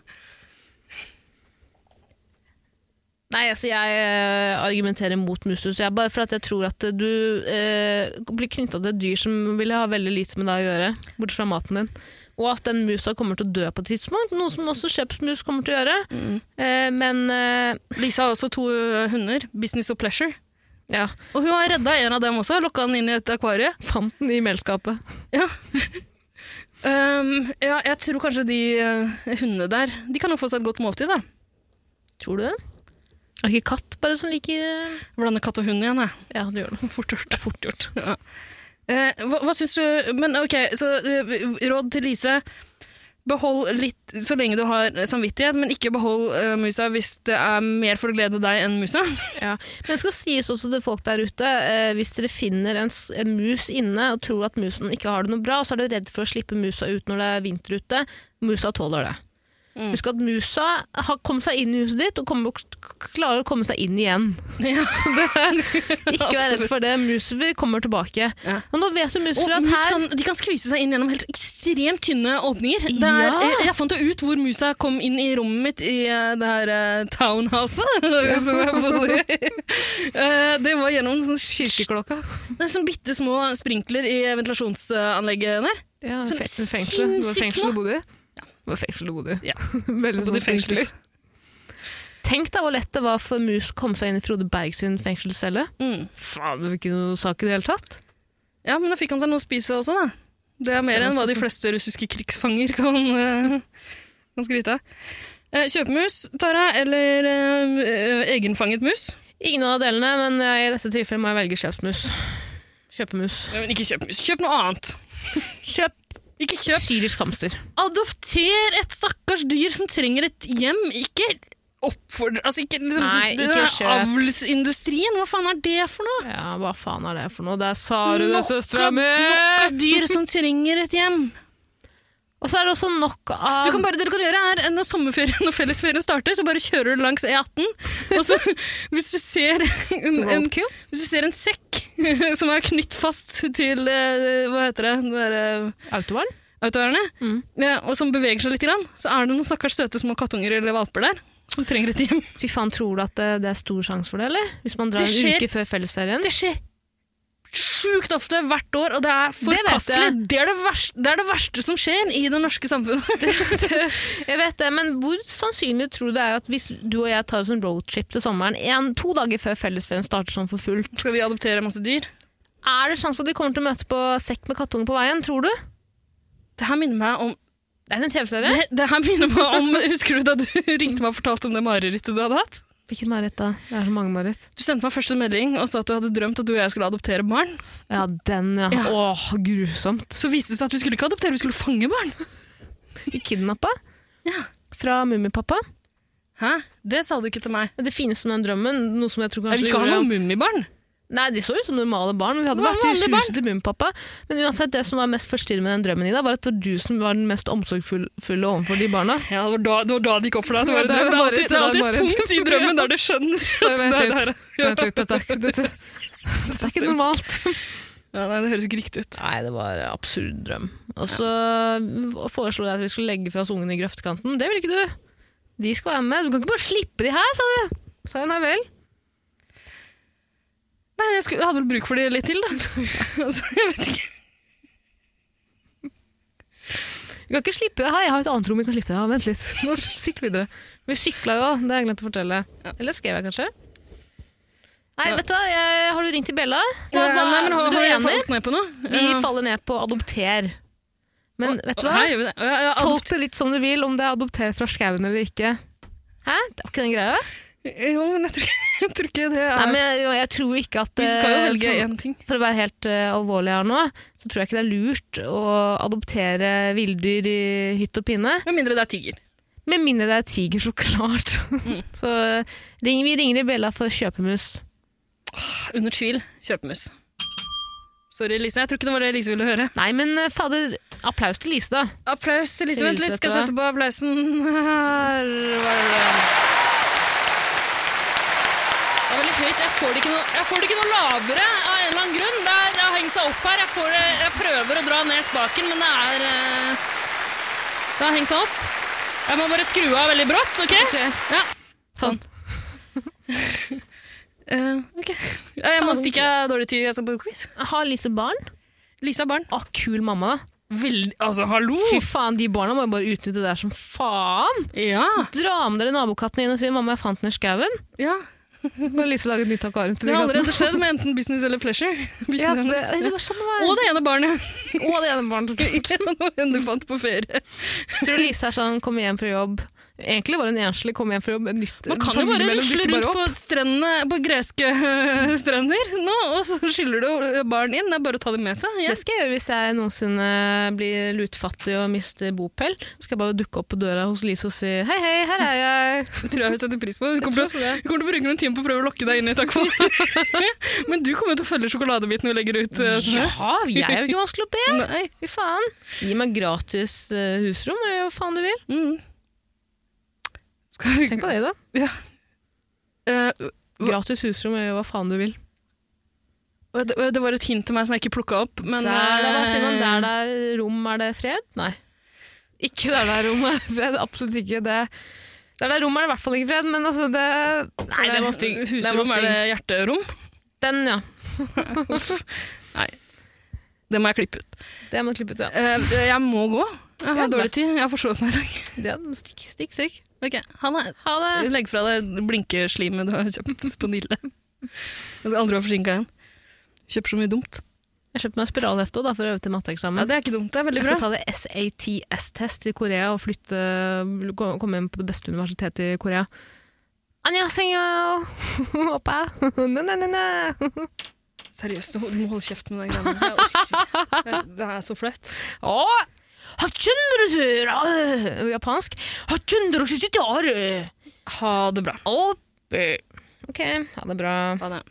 Nei, altså jeg eh, argumenterer mot mushus. Jeg, bare for at jeg tror at du eh, blir knytta til et dyr som vil ha veldig lite med deg å gjøre, bortsett fra maten din. Og at den musa kommer til å dø på et tidspunkt, noe som også skjepsmus kommer til å gjøre. Eh, men eh,
Lisa har også to ø, hunder, Business og Pleasure.
ja,
Og hun har redda en av dem også, lokka den inn i et akvarie.
fant den i melskapet.
Ehm, ja, jeg tror kanskje de ø, hundene der De kan jo få seg et godt måltid, da.
Tror du det? Er det ikke katt bare som liker eh,
Blande katt og hund igjen, jeg.
Ja, det gjør det. <laughs> Fort gjort. Fort gjort.
Ja. Eh, hva, hva syns du Men ok, så eh, råd til Lise. Behold litt så lenge du har samvittighet, men ikke behold eh, musa hvis det er mer for å glede deg enn musa. <laughs>
Ja. Men det skal sies også til folk der ute, eh, hvis dere finner en, s- en mus inne og tror at musen ikke har det noe bra, så er dere redd for å slippe musa ut når det er vinter ute. Musa tåler det.
Mm.
Husk at musa har kommet seg inn i huset ditt og kommer, klarer å komme seg inn
<laughs>
igjen.
Ja.
Ikke vær redd for det. Muser kommer tilbake.
Ja.
Og nå vet du muser
Og
at
mus
her
kan, de kan skvise seg inn gjennom helt ekstremt tynne åpninger. Det er,
Ja.
jeg, jeg fant jo ut hvor musa kom inn i rommet mitt i eh, det her eh, townhouset. <laughs> som jeg bor i. Eh, det var gjennom sånn,
Kirkeklokka.
det er sånn bitte små sprinkler i ventilasjonsanlegget der.
Ja,
Sånn
fe- fengsel. Det var
sinnssykt
fengsel
små.
du bodde i? Det var fengsel du bodde i.
Ja.
<laughs> Veldig sånn
Bodde i
små
fengsel.
fengsler. Tenk da hvor lett det var for mus å komme seg inn i Frode Berg sin fengselscelle.
Mm.
Faen, det var ikke noe sak i det hele tatt.
Ja, men da fikk han seg noe å spise også, da. Det er mer enn hva de fleste russiske krigsfanger kan, eh, kan skryte av. Eh, Kjøpemus, Tara, eller eh, eh, egenfanget mus?
Ingen av delene, men jeg, i dette tilfellet må jeg velge kjøpsmus. Kjøpemus.
Nei, men ikke kjøpemus. Kjøp noe annet.
Kjøp,
Ikke kjøp.
syrisk hamster.
Adopter et stakkars dyr som trenger et hjem. Ikke oppfordre Altså, ikke liksom
Nei,
den
ikke
der
kjøp.
Avlsindustrien, hva faen er det for noe?
Ja, hva faen er det for noe? Der sa du det, søstera mi!
Nok av dyr
<laughs>
som trenger et hjem.
Og så er det også nok av
Du kan bare, det du kan gjøre er, Når sommerferien og fellesferien starter, så bare kjører du langs E18. Og så,
<laughs>
hvis du ser en, en,
Roadkill?
hvis du ser en sekk <laughs> som er knytt fast til eh, Hva heter det? det der, eh,
Autovarn?
Autovernet.
Mm.
Ja, og som beveger seg litt, grann, så er det noen stakkars søte små kattunger eller valper der som trenger et hjem.
Fy faen, tror du at det, det er stor sjanse for det, eller? Hvis man drar
Det skjer-
en uke før fellesferien?
Det skjer sjukt ofte hvert år, og det er
vet jeg.
forkastelig. Det, er det, verste, det er det verste som skjer i det norske <laughs> samfunnet.
Jeg vet det, men hvor sannsynlig tror du det er at hvis du og jeg tar oss en roadtrip til sommeren en, to dager før fellesferien starter sånn for fullt,
Skal vi adoptere masse dyr?
er det sjanse for at de kommer til å møte på sekk med kattunge på veien, tror du?
Det her minner meg om
Det er en TV-serie.
det, det her minner meg om <laughs> Husker du da du <laughs> ringte meg og fortalte om det marerittet du hadde hatt?
Hvilket mareritt da? Det er så mange mareritt.
Du sendte meg først en melding og sa at du hadde drømt at du og jeg skulle adoptere barn.
Ja, den ja. Åh, grusomt.
Så viste det seg at vi skulle ikke adoptere, vi skulle fange barn.
Vi kidnappa
Ja.
fra Mummipappa.
Hæ? Det sa du ikke til meg.
Det fineste med den drømmen, noe som jeg tror
Jeg
kanskje
vil ikke ha
gjorde-
noen mummibarn.
Nei, de så ut som normale barn. men Vi hadde
Det var
vært i
vanlige
huset til mummipappa. Men uansett, det som var mest forstyrrende med den drømmen, Ida, var at det var du som var den mest omsorgsfulle overfor de barna.
Ja, det var da det, var da det gikk opp for deg. at Det,
Ja,
var,
det er
det, er alltid,
mareritt,
det er
det er
alltid et
mareritt.
punkt i drømmen der du skjønner at det er der.
Vent litt, dette, er ikke- dette, dette er ikke normalt.
Ja, nei, det høres ikke riktig ut.
Nei, det var en absurd drøm. Og så foreslo jeg at vi skulle legge fra oss ungene i grøftkanten. Det ville ikke du. De skal være med. Du kan ikke bare slippe de her, sa du. Sa jeg nei vel.
Nei, jeg, skulle, jeg hadde vel bruk for det litt til, da. <laughs> altså, jeg vet ikke.
Vi kan ikke slippe det her. Jeg har et annet rom vi kan slippe det her. Vent litt. Nå sykler vi videre. Vi sykla jo, det har jeg glemt å fortelle. Eller skrev jeg kanskje? Nei,
Ja.
vet du hva. Jeg, har du ringt til Bella?
Nei, men har,
du
har
er
jeg
enig?
falt ned på noe?
Vi
Ja.
faller ned på adopter. Men vet du hva?
Her gjør vi det. Ja, ja,
Tolk det litt som du vil, om det er adopter fra skauen eller ikke. Hæ? Det var ikke den greia?
<laughs> Jo, men jeg tror, jeg tror ikke det er
Nei, men jeg, jeg tror ikke at
Vi skal jo
eh,
velge
for-
én ting.
For å være helt eh, alvorlig her nå, så tror jeg ikke det er lurt å adoptere villdyr i hytt og pinne.
Med mindre det er tiger.
Med mindre det er tiger, så klart. <laughs> så eh, ring, vi ringer i bjella for kjøpemus.
Under tvil kjøpemus. Sorry, Lise. Jeg tror ikke det var det Lise ville høre.
Nei, men eh, fader, applaus til Lise, da.
Applaus til Lise.
Til
Vent
Lise,
litt, skal jeg
vet
sette
du
på applausen. <laughs> Her var det Det er veldig høyt. Jeg får det ikke noe, jeg får det ikke noe lavere av en eller annen grunn. Det er- det har hengt seg opp her. Jeg, får det, jeg prøver å dra ned spaken, men det er eh, Det har hengt seg opp. Jeg må bare skru av veldig brått, OK? Sånn. Ja.
Sånn.
<laughs> Eh, ok. Ja, Jeg må stikke jeg har dårlig tid. Jeg skal på quiz.
Har Lise barn?
Lise har barn.
Å, kul mamma, da.
Veldig Altså, hallo!
Fy faen, de barna må jo bare utnytte det der som faen.
Ja.
Dra med dere nabokattene inn og si 'mamma, jeg fant den i skauen'.
ja.
Kan Lise lage et nytt akvarium til
Det
de
har
kattene?
allerede skjedd med enten business eller pleasure. Business
<laughs> Ja, det,
hennes.
det var sånn det var.
Og det ene barnet.
<laughs> Og det ene
<laughs>
barnet.
Noe enn du fant på
<laughs>
ferie.
Tror du Lise er sånn, kommer hjem fra jobb Egentlig var hun enslig, kom hjem fra jobb et nytt,
Man kan jo bare
familiemedlem
rusle
dukker
rundt
opp.
på, strendene, på greske <laughs> øh, strender nå, og så skyller du barn inn. Det er bare å ta dem med seg.
Det
igjen.
skal jeg gjøre hvis jeg noensinne blir lutfattig og mister bopel. Så skal jeg bare dukke opp på døra hos Lise og si 'hei, hei, her er jeg'.
Det tror jeg vi setter pris på. Vi kommer, til å- vi kommer til å bruke noen timer på å prøve å lokke deg inn i et akvarium.
<laughs>
<laughs> Men du kommer jo til å følge sjokoladebiten vi legger ut. øh, sånn her.
Ja, jeg er jo ikke vanskelig å be!
Nei.
Fy faen. Gi meg gratis eh, husrom, og gjør hva faen du vil.
Mm. Skal vi
Tenk på det, da.
Eh,
Gratis husrom, og gjør hva faen du vil.
og det, og det var et hint til meg som jeg ikke plukka opp, men eh,
Der, der, hva sier man,
øh,
der det er rom, er det fred? Nei. Ikke der det er rom, er det fred. Absolutt ikke. Det, der det er rom, er det i hvert fall ikke fred, men altså det Nei, det var stygg. Den var
Husrom er
stygg.
det hjerterom.
Den, ja.
Det må jeg klippe ut.
Det må klippe ut, ja.
Eh, jeg må gå. Jeg
Ja,
har dårlig tid. Jeg har forsovet meg i dag.
Det er stikk, stikk, stikk.
<laughs> Ok, ha det.
Ha det.
Eh, Legg fra deg blinkeslimet du har kjøpt <laughs> på Nille. Jeg skal aldri være forsinka igjen. Kjøper så mye dumt.
Jeg kjøpte meg spiralhefte også, da, for å øve til
Ja,
matteeksamen.
Det er ikke dumt, det er veldig
jeg
bra.
skal ta det SATS-test i Korea og flytte, ko- komme inn på det beste universitetet i Korea. Annyeonghaseyo! <laughs> Oppa! <laughs> Nei, nei, nei, nei!
Seriøst, du må holde kjeft med de greiene. Jeg orker ikke. <laughs> Det- Det er så flaut.
Å! Hachundrusu! Ra- eh, Japansk. Hachundrusu sitare!
Ha det bra.
Opp! Ok, ha det bra.
Ha det.